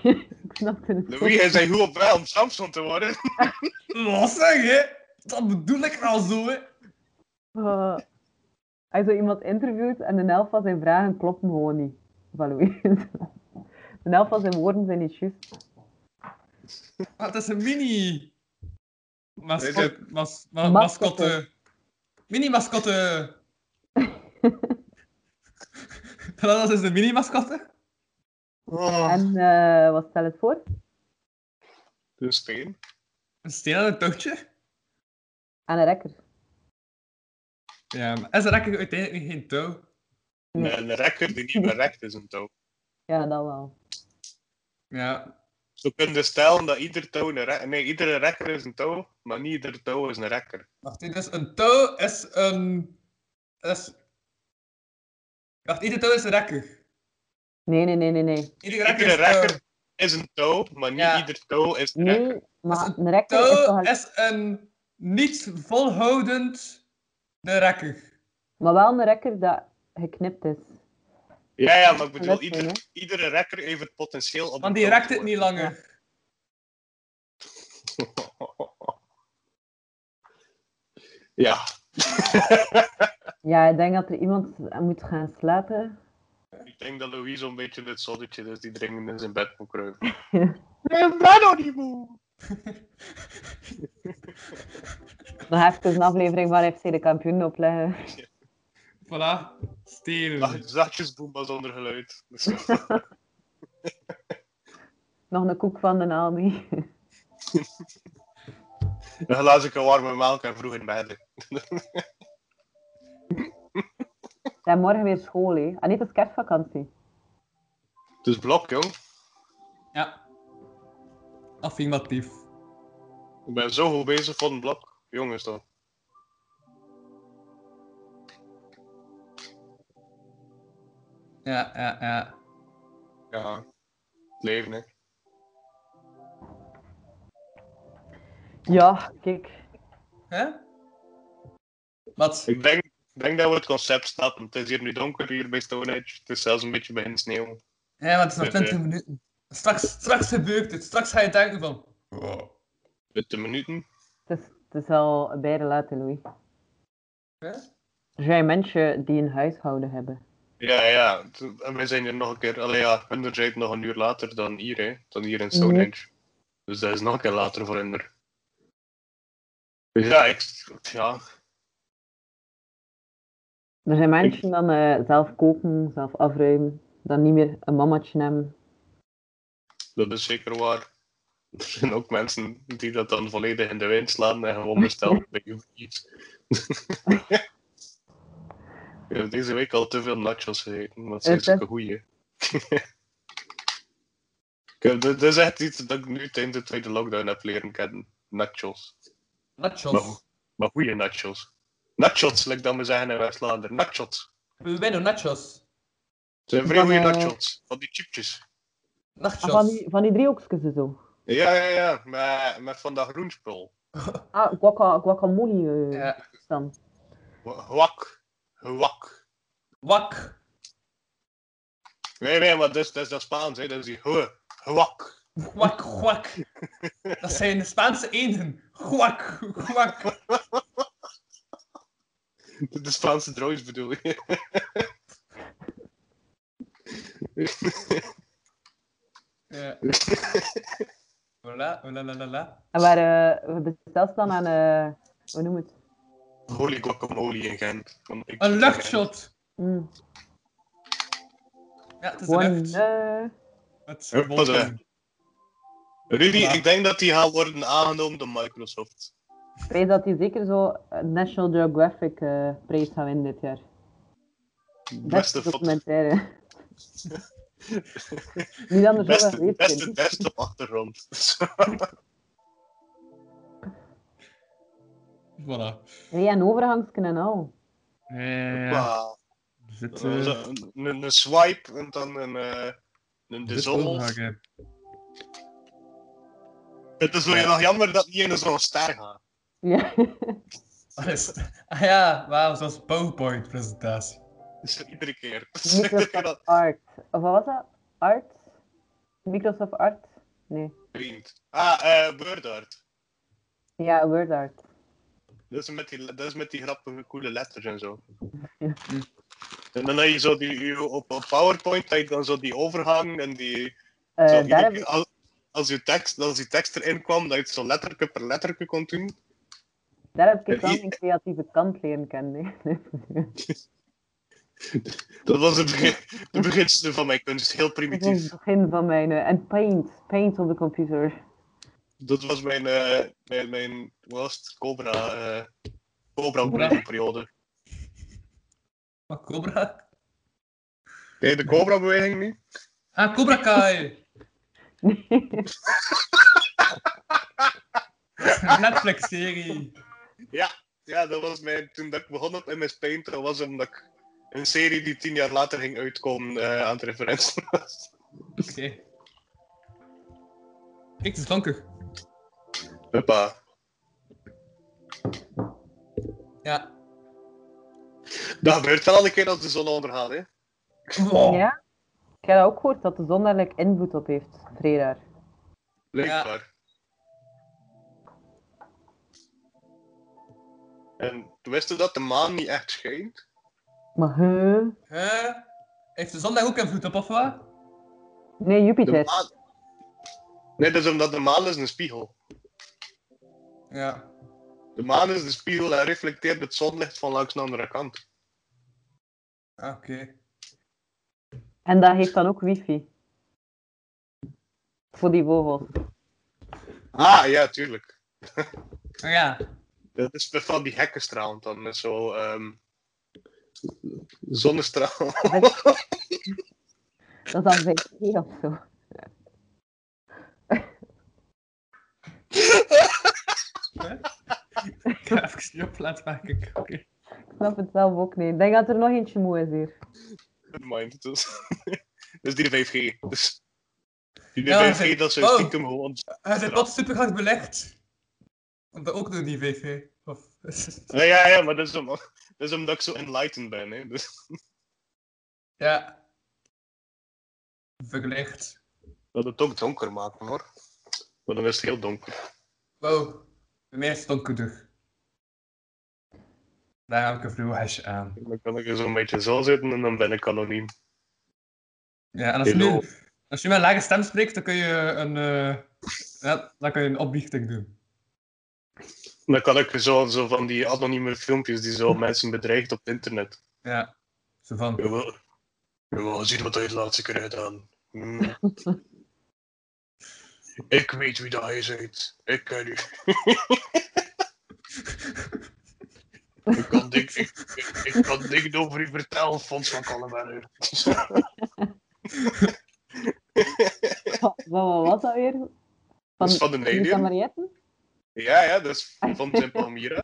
ik snapte het. Louis, hij zei hoe op wel om Samson te worden. Los zeg, Oh, hè? Dat bedoel ik nou zo, hè? Eh, hij zo iemand interviewt en de helft van zijn vragen kloppen gewoon niet. Van Louis. De helft van zijn woorden zijn niet juist. Maar het Ah, is een mini... Mascot, Nee, mas, ma- Mascotte. mascotte. Mini-mascotte. dat is dus de mini-mascotte. Oh. En eh, wat stel het voor? De steen. Een steen aan een touwtje. Aan een rekker. Ja, maar is er eigenlijk uiteindelijk geen touw? Nee. Een rekker die niet meer rekt is een touw. Ja, dat wel. Ja. Zo kun je stellen dat ieder touw een rekker... Nee, iedere rekker is een touw, maar niet ieder touw is een rekker. Wacht, hè, dus een touw is een... Is... Wacht, ieder touw is een rekker. Nee, nee, nee, nee, nee. Iedere rekker Iedere is een touw. rekker is een touw, maar niet Ja. ieder touw is een rekker. eh. Nee, maar een rekker is toch Touw een... is een niet volhoudend de rekker. Maar wel een rekker dat geknipt is. Ja, ja, maar ik bedoel, Lekker, ieder, hè? iedere rekker heeft het potentieel om... Want een die touw rekt te het niet worden. langer. Ja, Ja, ik denk dat er iemand moet gaan slapen. ik denk dat Louis zo'n beetje het zonnetje is die dringend in zijn bed moet kruipen. Ja. Ik ben nog niet moe! Dan ga ik dus een aflevering van FC de kampioen opleggen. Voilà, stelen. Ah, Zachtjes boemba zonder geluid. Dus- Nog een koek van de Aldi. Een glaasje warme melk en vroeg in bed. En morgen weer school, hè. Ah nee, het is kerstvakantie. Het is blok, jong. Ja. Affirmatief. Ik ben zo goed bezig voor een blok. Jongens dan. Ja, ja, ja. Ja. Het leven, hè. Ja, kijk. Hè? Wat? Ik denk, ik denk dat we het concept snappen. Het is hier nu donker hier bij Stone Age. Het is zelfs een beetje begin sneeuw. Ja, want het is nog Eh, 20 minuten. Straks, straks gebeurt het. Straks ga je denken van... Met de minuten. Het is, het is al bijna laat, hè, Louis. Hè? Er zijn mensen die een huishouden hebben. Ja, ja. Toen- En wij zijn hier nog een keer... Allee, ja, Hunder zei het nog een uur later dan hier, hè. Dan hier in Stonehenge. Dus dat is nog een keer later voor Hunder. Dus ja, ik... Ja, Er zijn mensen dan eh, zelf koken, zelf afruimen, dan niet meer een mammatje hebben. dat is zeker waar. Er zijn ook mensen die dat dan volledig in de wind slaan en gewoon bestellen bij Uber Eats. Ik heb deze week al te veel nachos gegeten, want ze Is zijn zulke goeie. Ik heb- Dit dit is echt iets dat ik nu tijdens de tweede lockdown heb leren kennen. Nachos. Nachos. Maar, goe- maar goeie nachos. Nachos, lijkt dan we zeggen in West-Vlaanderen. Nachos. Bueno, nachos. Het zijn vrij Van, goede eh, nachos. Van die chipjes. Ah, van, Nachos. die, van die driehoekjes en zo. Ja, ja, ja. Met, met van dat groenspul. Ah, guaca, guacamole eh, Ja. is dan. Wak. Wak. Wak. Nee, nee, maar dat is, dat is dat Spaans, hè. Dat is die hoe. Wak. Guak, guak. Dat zijn de Spaanse eenden. Guak, guak. De Spaanse drones bedoel je. Ja. Voilà, voilà, la, la, la. En waar eh, we besteld dan aan, eh hoe noem het? Holy guacamole in Gent. Want ik- Een luchtshot. Mm, Ja, het is de gewoon, lucht. eh, Het is Hup, wat, eh. wolken. Rudy, Ja. ik denk dat die gaan worden aangenomen door Microsoft. ik weet dat hij zeker zo een National Geographic eh, prijs gaat winnen dit jaar. Beste foto. documentaire. Niet anders dan dat Beste, weet beste, ik beste op achtergrond. Voilà. Hey, en overhangsken en al. Ja, Wauw. er zit, eh, Zo, Een, een, een swipe en dan een, eh, een er zit dissolve. overhang in. Het is wel Ja. nog jammer dat die in zo'n ster gaat. Ja. Ah, is- ah ja, wauw, zoals PowerPoint-presentatie. Dus iedere keer. Microsoft Art. Of wat was dat? Art? Microsoft Art? Nee. Vriend. Ah, eh WordArt. Ja, Word Art. Dat is met die, dat is met die grappige coole letters en zo. Ja. En dan heb je zo die, je- op, op PowerPoint heb je dan zo die overhang en die... Eh, zo daar iedere heb keer ik... als, als, je tekst, als die tekst erin kwam, dat je het zo letterke per letterke kon doen. Daar heb ik Ja, wel hier- mijn creatieve kant leren kennen. hè. Dat was het begin, de beginsel van mijn kunst. Heel Dat was primitief. het begin van mijn... eh, En Paint. Paint op de computer. Dat was mijn, eh, mijn, mijn hoe was het? Cobra, eh Cobra periode. Maar Oh, Cobra? Nee, de Cobra beweging niet. Ah, Cobra Kai! Netflix-serie. Ja, dat was mijn, toen dat ik begon op MS Paint, dat was omdat ik een serie die tien jaar later ging uitkomen eh, aan de referentie was. Oké. Kijk, het is donker. Huppa. Ja. Dat gebeurt wel een keer als de zon ondergaat, hè. Wow. Ja? Ik heb dat ook gehoord dat de zon daar like, invloed op heeft. Vredaar. Blijkbaar. En wist je dat de maan niet echt schijnt? Maar huh? Hè? Heeft de zon daar ook een voet op, of wat? Nee, De Jupiter. maan... Nee, dat is omdat de maan is een spiegel. Ja. De maan is de spiegel en reflecteert het zonlicht van langs de andere kant. Ah, Oké. En dat heeft dan ook wifi. Voor die vogels. Ah, ja, tuurlijk. Ah, ja. Dat is van die hekkenstraal dan met zo ehm zonnestraal. Dat is dan 5G of zo. Ik ga even niet op laten maken. Oké. Ik snap het zelf ook niet. Ik denk dat er nog eentje moe is hier. Mind. Dus, dus die 5G. Dus, die Ja, 5G dat ze oh. stiekem gewoon. Hij zit wat super hard belegd. Want dat ook door die VV. Of... Ja, ja, ja, maar dat is, om, dat is omdat ik zo enlightened ben. Hè. Dus, ja. Verlicht. dat het ook donker maakt hoor. Maar dan is het heel donker. Wow. Bij mij is het donkerder. Daar heb ik een vloerhash aan. Dan kan ik er zo'n beetje zo zitten en dan ben ik anoniem. Ja, en als je Hello. nu, als je met een lage stem spreekt, dan kun je een, eh, ja, dan kun je een opbiechting doen. Dan kan ik zo, zo van die anonieme filmpjes die zo mensen bedreigt op het internet. Ja. Zo van, Je wil, je wil zien wat hij het laatste keer gedaan. Hmm. ik weet wie dat hij is. Ik eh, ken u. ik, kan dik, ik, ik, ik kan dik over u vertellen, Fons van Kallenberger. Wat, wat was dat weer? Dat is van de Lisa Nederlander. Mariette? Ja, ja, dat is van Tim Palmira.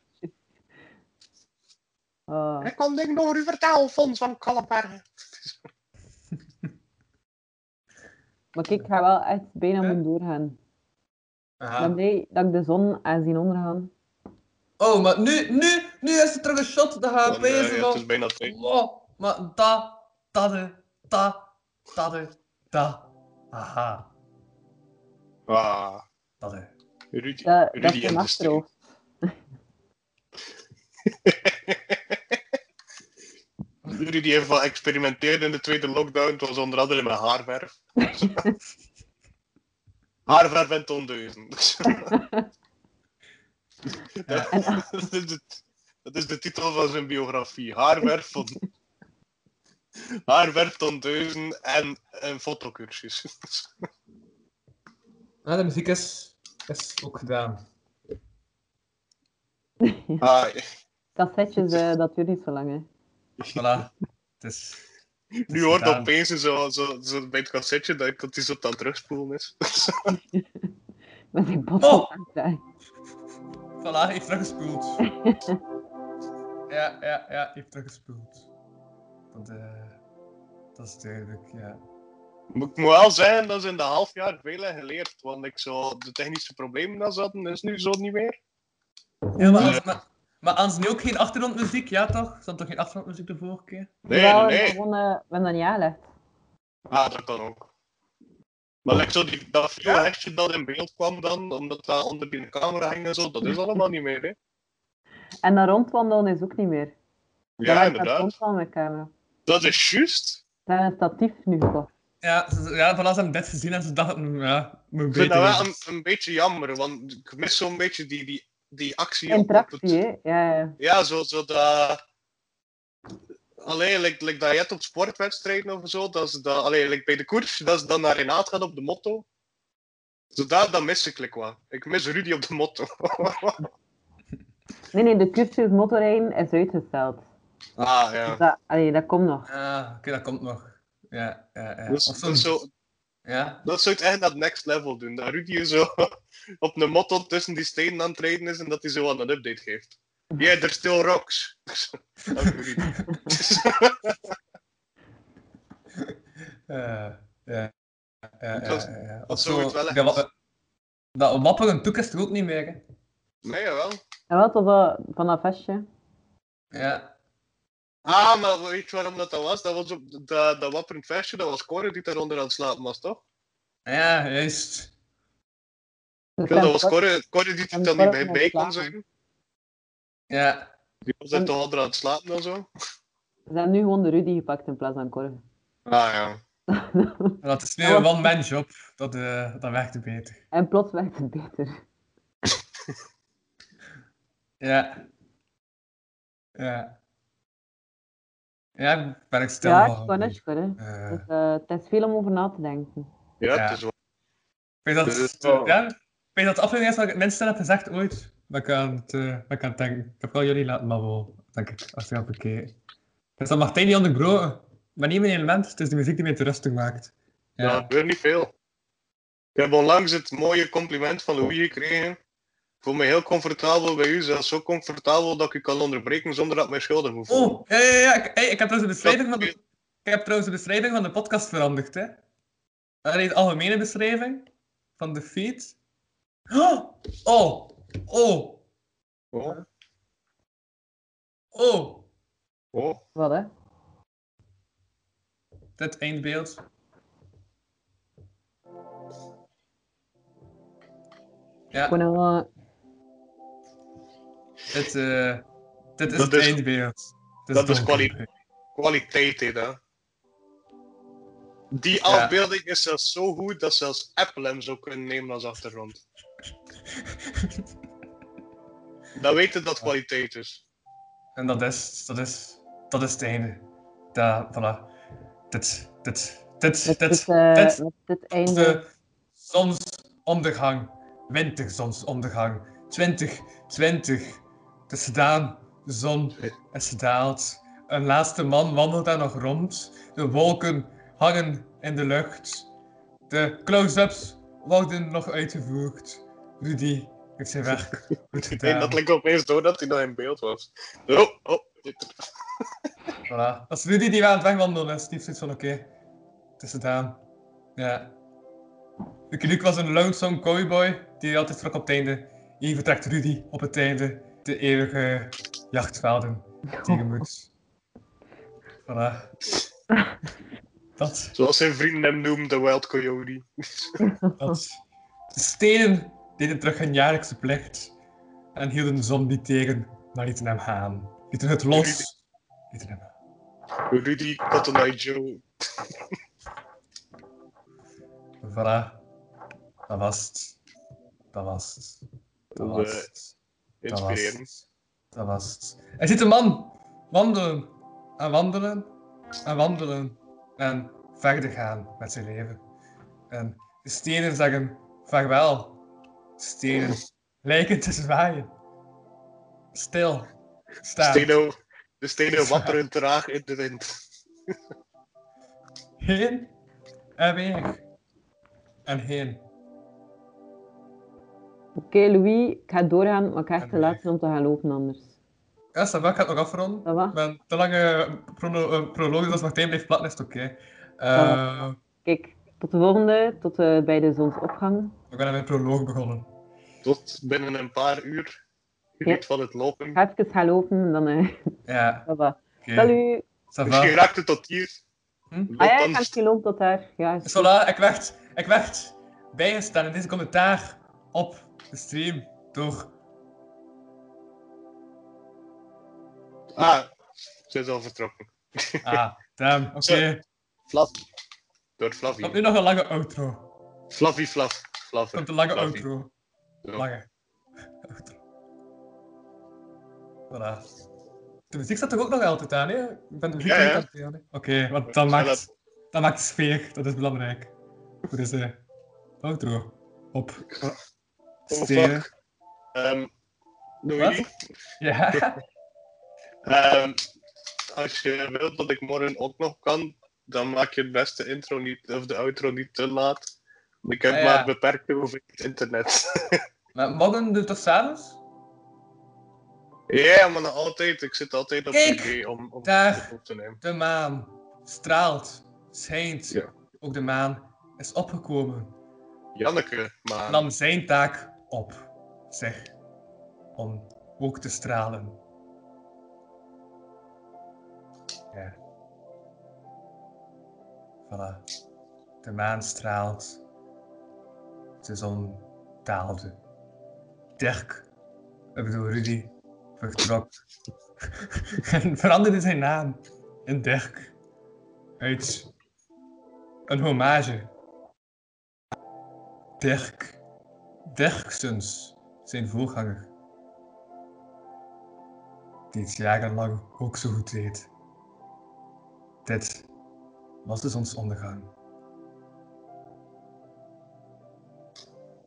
Oh, Ik kan dik over u vertellen, Fons van Kallenberger. maar kijk, ik ga wel echt bijna moeten doorgaan. Ah. Ik ben aha. blij dat ik de zon aan zien ondergaan. Oh, maar nu, nu, nu is er terug een shot, dat gaat Want, eh, bezig ja, het van... is bijna twee. Wow, maar da, da, de, da, da, de, da. Aha, Ah, da, de. Rudy, Dat, dat Rudy is een en de steen. achterhoofd. Rudy heeft wel experimenteerd in de tweede lockdown. Het was onder andere met haarverf. haarverf en tondeuzen. dat, dat is de, dat is de titel van zijn biografie. Haarverf, van, haarverf tondeuzen en een fotocursus. Ja, de muziek is, is ook gedaan. ah, Cassetjes, eh, dat duurt niet zo lang, hè. Voilà. Het is... nu hoort gedaan. opeens zo, zo, zo bij het cassetje dat ik dat hij zo aan het terugspoelen is. Met die Oh! botten. Voilà, hij heeft teruggespoeld. ja, ja, ja, hij heeft teruggespoeld. Dat, eh, dat is duidelijk, ja. Moet- Ik moet wel zeggen dat ze in de half jaar veel hebben geleerd, want ik zo de technische problemen dat ze hadden, is nu zo niet meer. Ja, maar, Hans- maar, maar Hans, nu ook geen achtergrondmuziek, ja toch? Stond toch geen achtergrondmuziek de vorige keer? Nee, Wel, nee, nee. Gewoon, eh, we hebben dat niet aangelegd. Ah, dat kan ook. Maar like, zo die, dat veel hesje dat in beeld kwam dan, omdat dat onder die camera hing en zo, dat is allemaal niet meer, hè? En dat rondwandelen is ook niet meer. Ja, Dat inderdaad. rondwandelen met camera. Dat is juist. We hebben een statief nu gekocht. Ja, ze, ja voilà, ze hebben dit gezien en ze dachten, mm, ja, moet Ik vind dat beter. wel een, een beetje jammer, want ik mis zo'n beetje die, die, die actie. op- op het- Interactie, hè. Ja, ja. Ja, zo, zo dat... Allee, like, like dat je hebt op sportwedstrijden of zo, dat ze dat, allee, like bij de koers, dat ze dan naar Renaat gaan op de motto. Zo daar, dat mis ik like, wat. Ik mis Rudy op de motto. Nee, nee, de cursus motorrijden is uitgesteld. ah, Dus ja. dat, allee, dat komt nog. Ah, oké, dat komt nog. Ja, ja, ja. Dus, Of dat, is zo. zo, Ja, dat zou ik echt naar het next level doen. Dat Rudy zo op een motto tussen die stenen aan het rijden is en dat hij zo aan een update geeft. Yeah, er still rocks. Dank u, Rudy. Eh, ja. Ja, ja, Dat- ja, ja. dat Of zou zo, het wel echt- dat wa- dat wapperen toek is er ook niet meer, hè. Nee, jawel. En wat was dat van dat vestje? Ja. Ah, maar weet je waarom dat, dat was? Dat was op dat, dat wapperend versje, dat was Corrie die daaronder aan het slapen was, toch? Ah Ja, juist. Ja, dat was Corrie, Corrie die er En dan niet Corrie bij, bij kon kon zijn. Ja. Die was daar toch onder aan het slapen en zo? Ze hebben nu gewoon de Rudy gepakt in plaats van Corve. Ah ja. Dat is nu Ja, een want- one-man job. Dat, eh dat werkte beter. En plots werd het beter. Ja. Ja. Ja, ben ik stil. ja, van ik kan geworden. het, Corre. Eh, Dus, eh, het is veel om over na te denken. Ja, Ja. het is wel. ik weet Dit is dat, wel- ja, ik weet dat de aflevering is waar ik het minste heb gezegd ooit. Dat ik aan het, eh, dat ik aan het denken. Ik heb wel jullie laten mabbelen, denk ik, als ik heb bekeken. Dus dat mag tijd niet onderbroken. Maar niet mijn element, het is de muziek die mij te rustig maakt. Ja. Ja. gebeurt niet veel. Ik heb onlangs het mooie compliment van Louis gekregen. Ik voel me heel comfortabel bij u, zelfs zo comfortabel dat ik u kan onderbreken zonder dat ik mij schuldig moet voelen. Oh, ja, ja, ja. Ik, hey, ik heb trouwens de beschrijving van de, ik heb trouwens de beschrijving van de podcast veranderd, hè. Allee, de algemene beschrijving van de feed. Oh, oh, Oh, oh. oh. Wat, hè? Dit eindbeeld. Ja, Gewoon, eh, dit, eh, Dit is Dat het is- eindbeeld. Dit dat is donker. kwaliteit. Kwaliteit, hè. daar. Die afbeelding is zelfs zo goed dat zelfs Apple hem zou kunnen nemen als achtergrond. Dan weten dat kwaliteit is. En dat is, dat is, dat is het einde. Da, voilà. Dit, dit, dit, Met dit, dit, dit, eh, dit met dit is eh, einde. de zonsondergang. Winterzonsondergang. 20, 20. Het is gedaan. Dus De zon is gedaald. Een laatste man wandelt daar nog rond. De wolken hangen in de lucht. De close-ups worden nog uitgevoerd. Rudy heeft zijn werk goed Nee, gedaan. dat lijkt opeens door dat hij nou in beeld was. Oh, oh. Voilà. Dat is Rudy die we aan het wegwandelen is. Die heeft zoiets van, oké, het is gedaan. Ja. Lucky Luke was een lonesome cowboy die altijd vertrok op het einde. Hier vertrekt Rudy op het einde. De eeuwige jachtvelden tegemoet. Voilà. Dat, Zoals zijn vrienden hem noemen, de Wild Coyote. dat. De stenen deden terug hun jaarlijkse plicht en hielden de zombie tegen, maar lieten hem gaan. Lieten het los, lieten hem gaan. Rudy Cotton Eye Joe. Voilà. Dat was het. Dat was het. Dat was Eh, het. Dat was Inspirerend. het. Dat was het. Er zit een man. Wandelen. En wandelen. En wandelen. En verder gaan met zijn leven. En de stenen zeggen vaarwel. Stenen lijken te zwaaien. Stil. Staan. Steno, de stenen wapperen traag in de wind. Heen en weer. En heen. Oké, Louis, ik ga doorgaan, maar ik ga echt te laat zijn om te gaan lopen anders. Ja, Savak gaat nog afronden. Dat wat? Mijn te lange prono- eh, proloog, dus als Martijn blijft platten, is het oké. Eh, Ja. Kijk, tot de volgende, tot eh, bij de zonsopgang. ik ben aan mijn proloog begonnen. Tot binnen een paar uur. Geniet van het lopen. Ga even gaan lopen en dan... eh Ja, baba. oké. Salut! Ça va. Misschien raakt het tot hier. Hm? Loop Ah ja, dan ik ga misschien lopen tot daar. Ja, is Dus goed. voilà, ik werd, ik werd bijgestaan in deze commentaar op de stream door... Ah, ze is al vertrokken. Ah, damn, oké. Zo. Flav. Door Komt Flavie. nu nog een lange outro. Flavie Flav. Flavie. Komt een lange Flavie. outro. Ja. Lange. Outro. Voilà. De muziek staat toch ook nog altijd aan, hè? Ik ben de muziek Ja, ja. nog altijd aan, hè? Oké, want dan Ja, maakt... dat- Dat maakt de sfeer, dat is belangrijk. Goed is de outro. Op. Oh, Steren. fuck. Ehm, Louis, Ja. ehm, als je wilt dat ik morgen ook nog kan, dan maak je het beste intro niet, of de outro niet te laat. Ik heb Ah, ja. maar beperkte hoeveelheid internet. Maar morgen doen we het toch s'avonds? Ja, maar nog altijd. Ik zit altijd op Kijk, tv om, om daar. op te nemen. De maan straalt, schijnt. Ja. Ook de maan is opgekomen. Janneke, maar Nam zijn taak op, zeg. Om ook te stralen. Ja. Voilà. De maan straalt. De zon daalde. Dirk, ik bedoel Rudy, vertrok. en veranderde zijn naam in Dirk. Uit een hommage. Dirk. Dirksens, zijn voorganger. Die het jarenlang ook zo goed deed. Dit was de zonsondergang.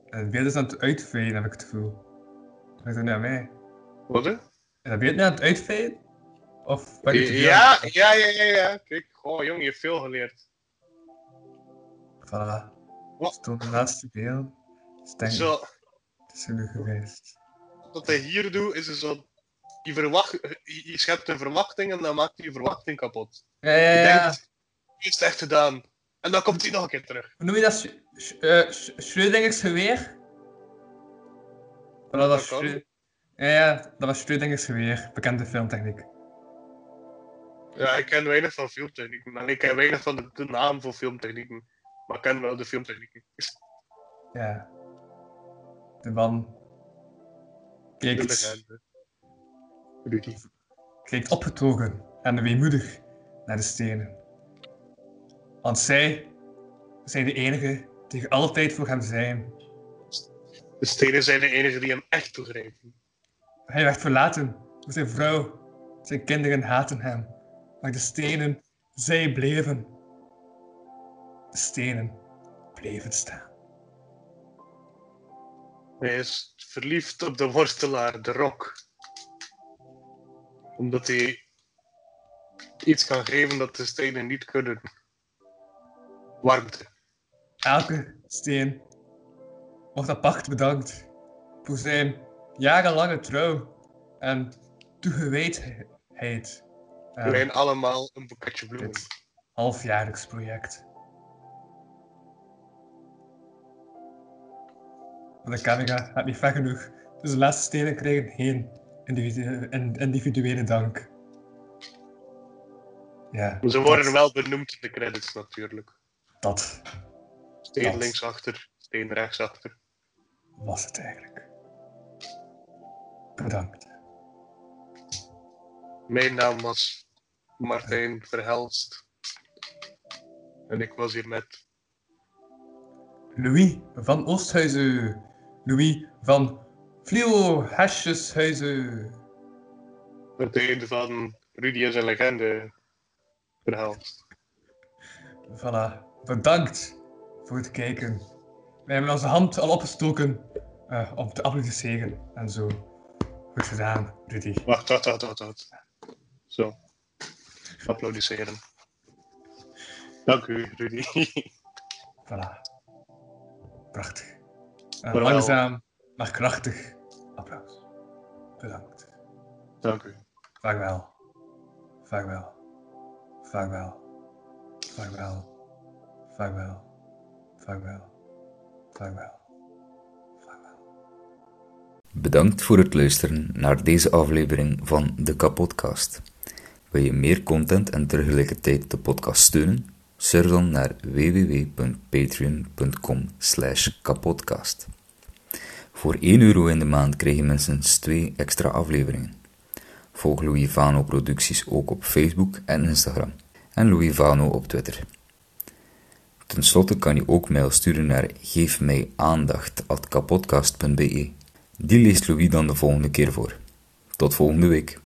En het beeld is aan het uitveen, heb ik het gevoel. Lijkt het naar mij? Wat, hè? Is dat beeld nu aan het uitveen? Of ben ik te veel aan Ja, het- ja, ja, ja, ja. Kijk, goh, jong, je hebt veel geleerd. Voilà. Ja. Het is toen de laatste beeld. Dus ik denk, Zo, het is genoeg geweest. wat hij hier doet, is zo... Je, verwacht, je je schept een verwachting en dan maakt hij je verwachting kapot. Ja, ja, Je ja. denkt, "Nu is het echt gedaan. En dan komt hij nog een keer terug. Hoe noem je dat? Sch sch eh, sch- Schrödingers geweer? Voilà, dat was Dat kan. Schrö- ja, ja, dat was Schrödingers geweer. Bekende filmtechniek. Ja, ik ken weinig van filmtechnieken. En ik ken weinig van de, de naam voor filmtechnieken. Maar ik ken wel de filmtechnieken. Ja. De man De kijkt legende. Rudy. kijkt opgetogen en weemoedig naar de stenen. Want zij zijn de enige die er altijd voor hem zijn. De stenen zijn de enige die hem echt begrijpen. Hij werd verlaten door zijn vrouw. Zijn kinderen haten hem. Maar de stenen, zij bleven. De stenen bleven staan. Hij is verliefd op de worstelaar, de rok. Omdat hij iets kan geven dat de stenen niet kunnen. Warmte. Elke steen wordt apart bedankt voor zijn jarenlange trouw en toegewetenheid. We aan Alleen allemaal een boeketje bloemen. dit halfjaarlijks project. Maar De camera gaat niet ver genoeg, dus de laatste stenen krijgen geen individu- in- individuele dank. Ja, Ze worden dat- wel benoemd in de credits natuurlijk. Dat Steen Dat. linksachter, steen rechtsachter. was het eigenlijk. Bedankt. Mijn naam was Martijn Verhelst. En ik was hier met Louis van Oosthuizen. Louis van Flio Hesjeshuizen. Martijn van Rudy en zijn legende Verhelst. Voilà. Bedankt voor het kijken. Wij hebben onze hand al opgestoken eh, om te applaudisseren en zo. Goed gedaan, Rudy. Wacht, wacht, wacht, wacht, wacht. Zo. Applaudisseren. Dank u, Rudy. Voilà. Prachtig. Een Wel. langzaam, maar krachtig applaus. Bedankt. Dank u. Vaarwel. Vaarwel. Vaarwel. Vaarwel. Vaarwel. Vaarwel. Vaarwel. Bedankt voor het luisteren naar deze aflevering van de Kapodcast. Wil je meer content en tegelijkertijd de podcast steunen? Surf dan naar www.patreon.com kapodcast. Voor 1 euro in de maand krijg je minstens 2 extra afleveringen. Volg Louis Vano producties ook op Facebook en Instagram. En Louis Vano op Twitter. Ten slotte kan je ook mail sturen naar geefmijaandacht.kapodcast.be. Die leest Louis dan de volgende keer voor. Tot volgende week.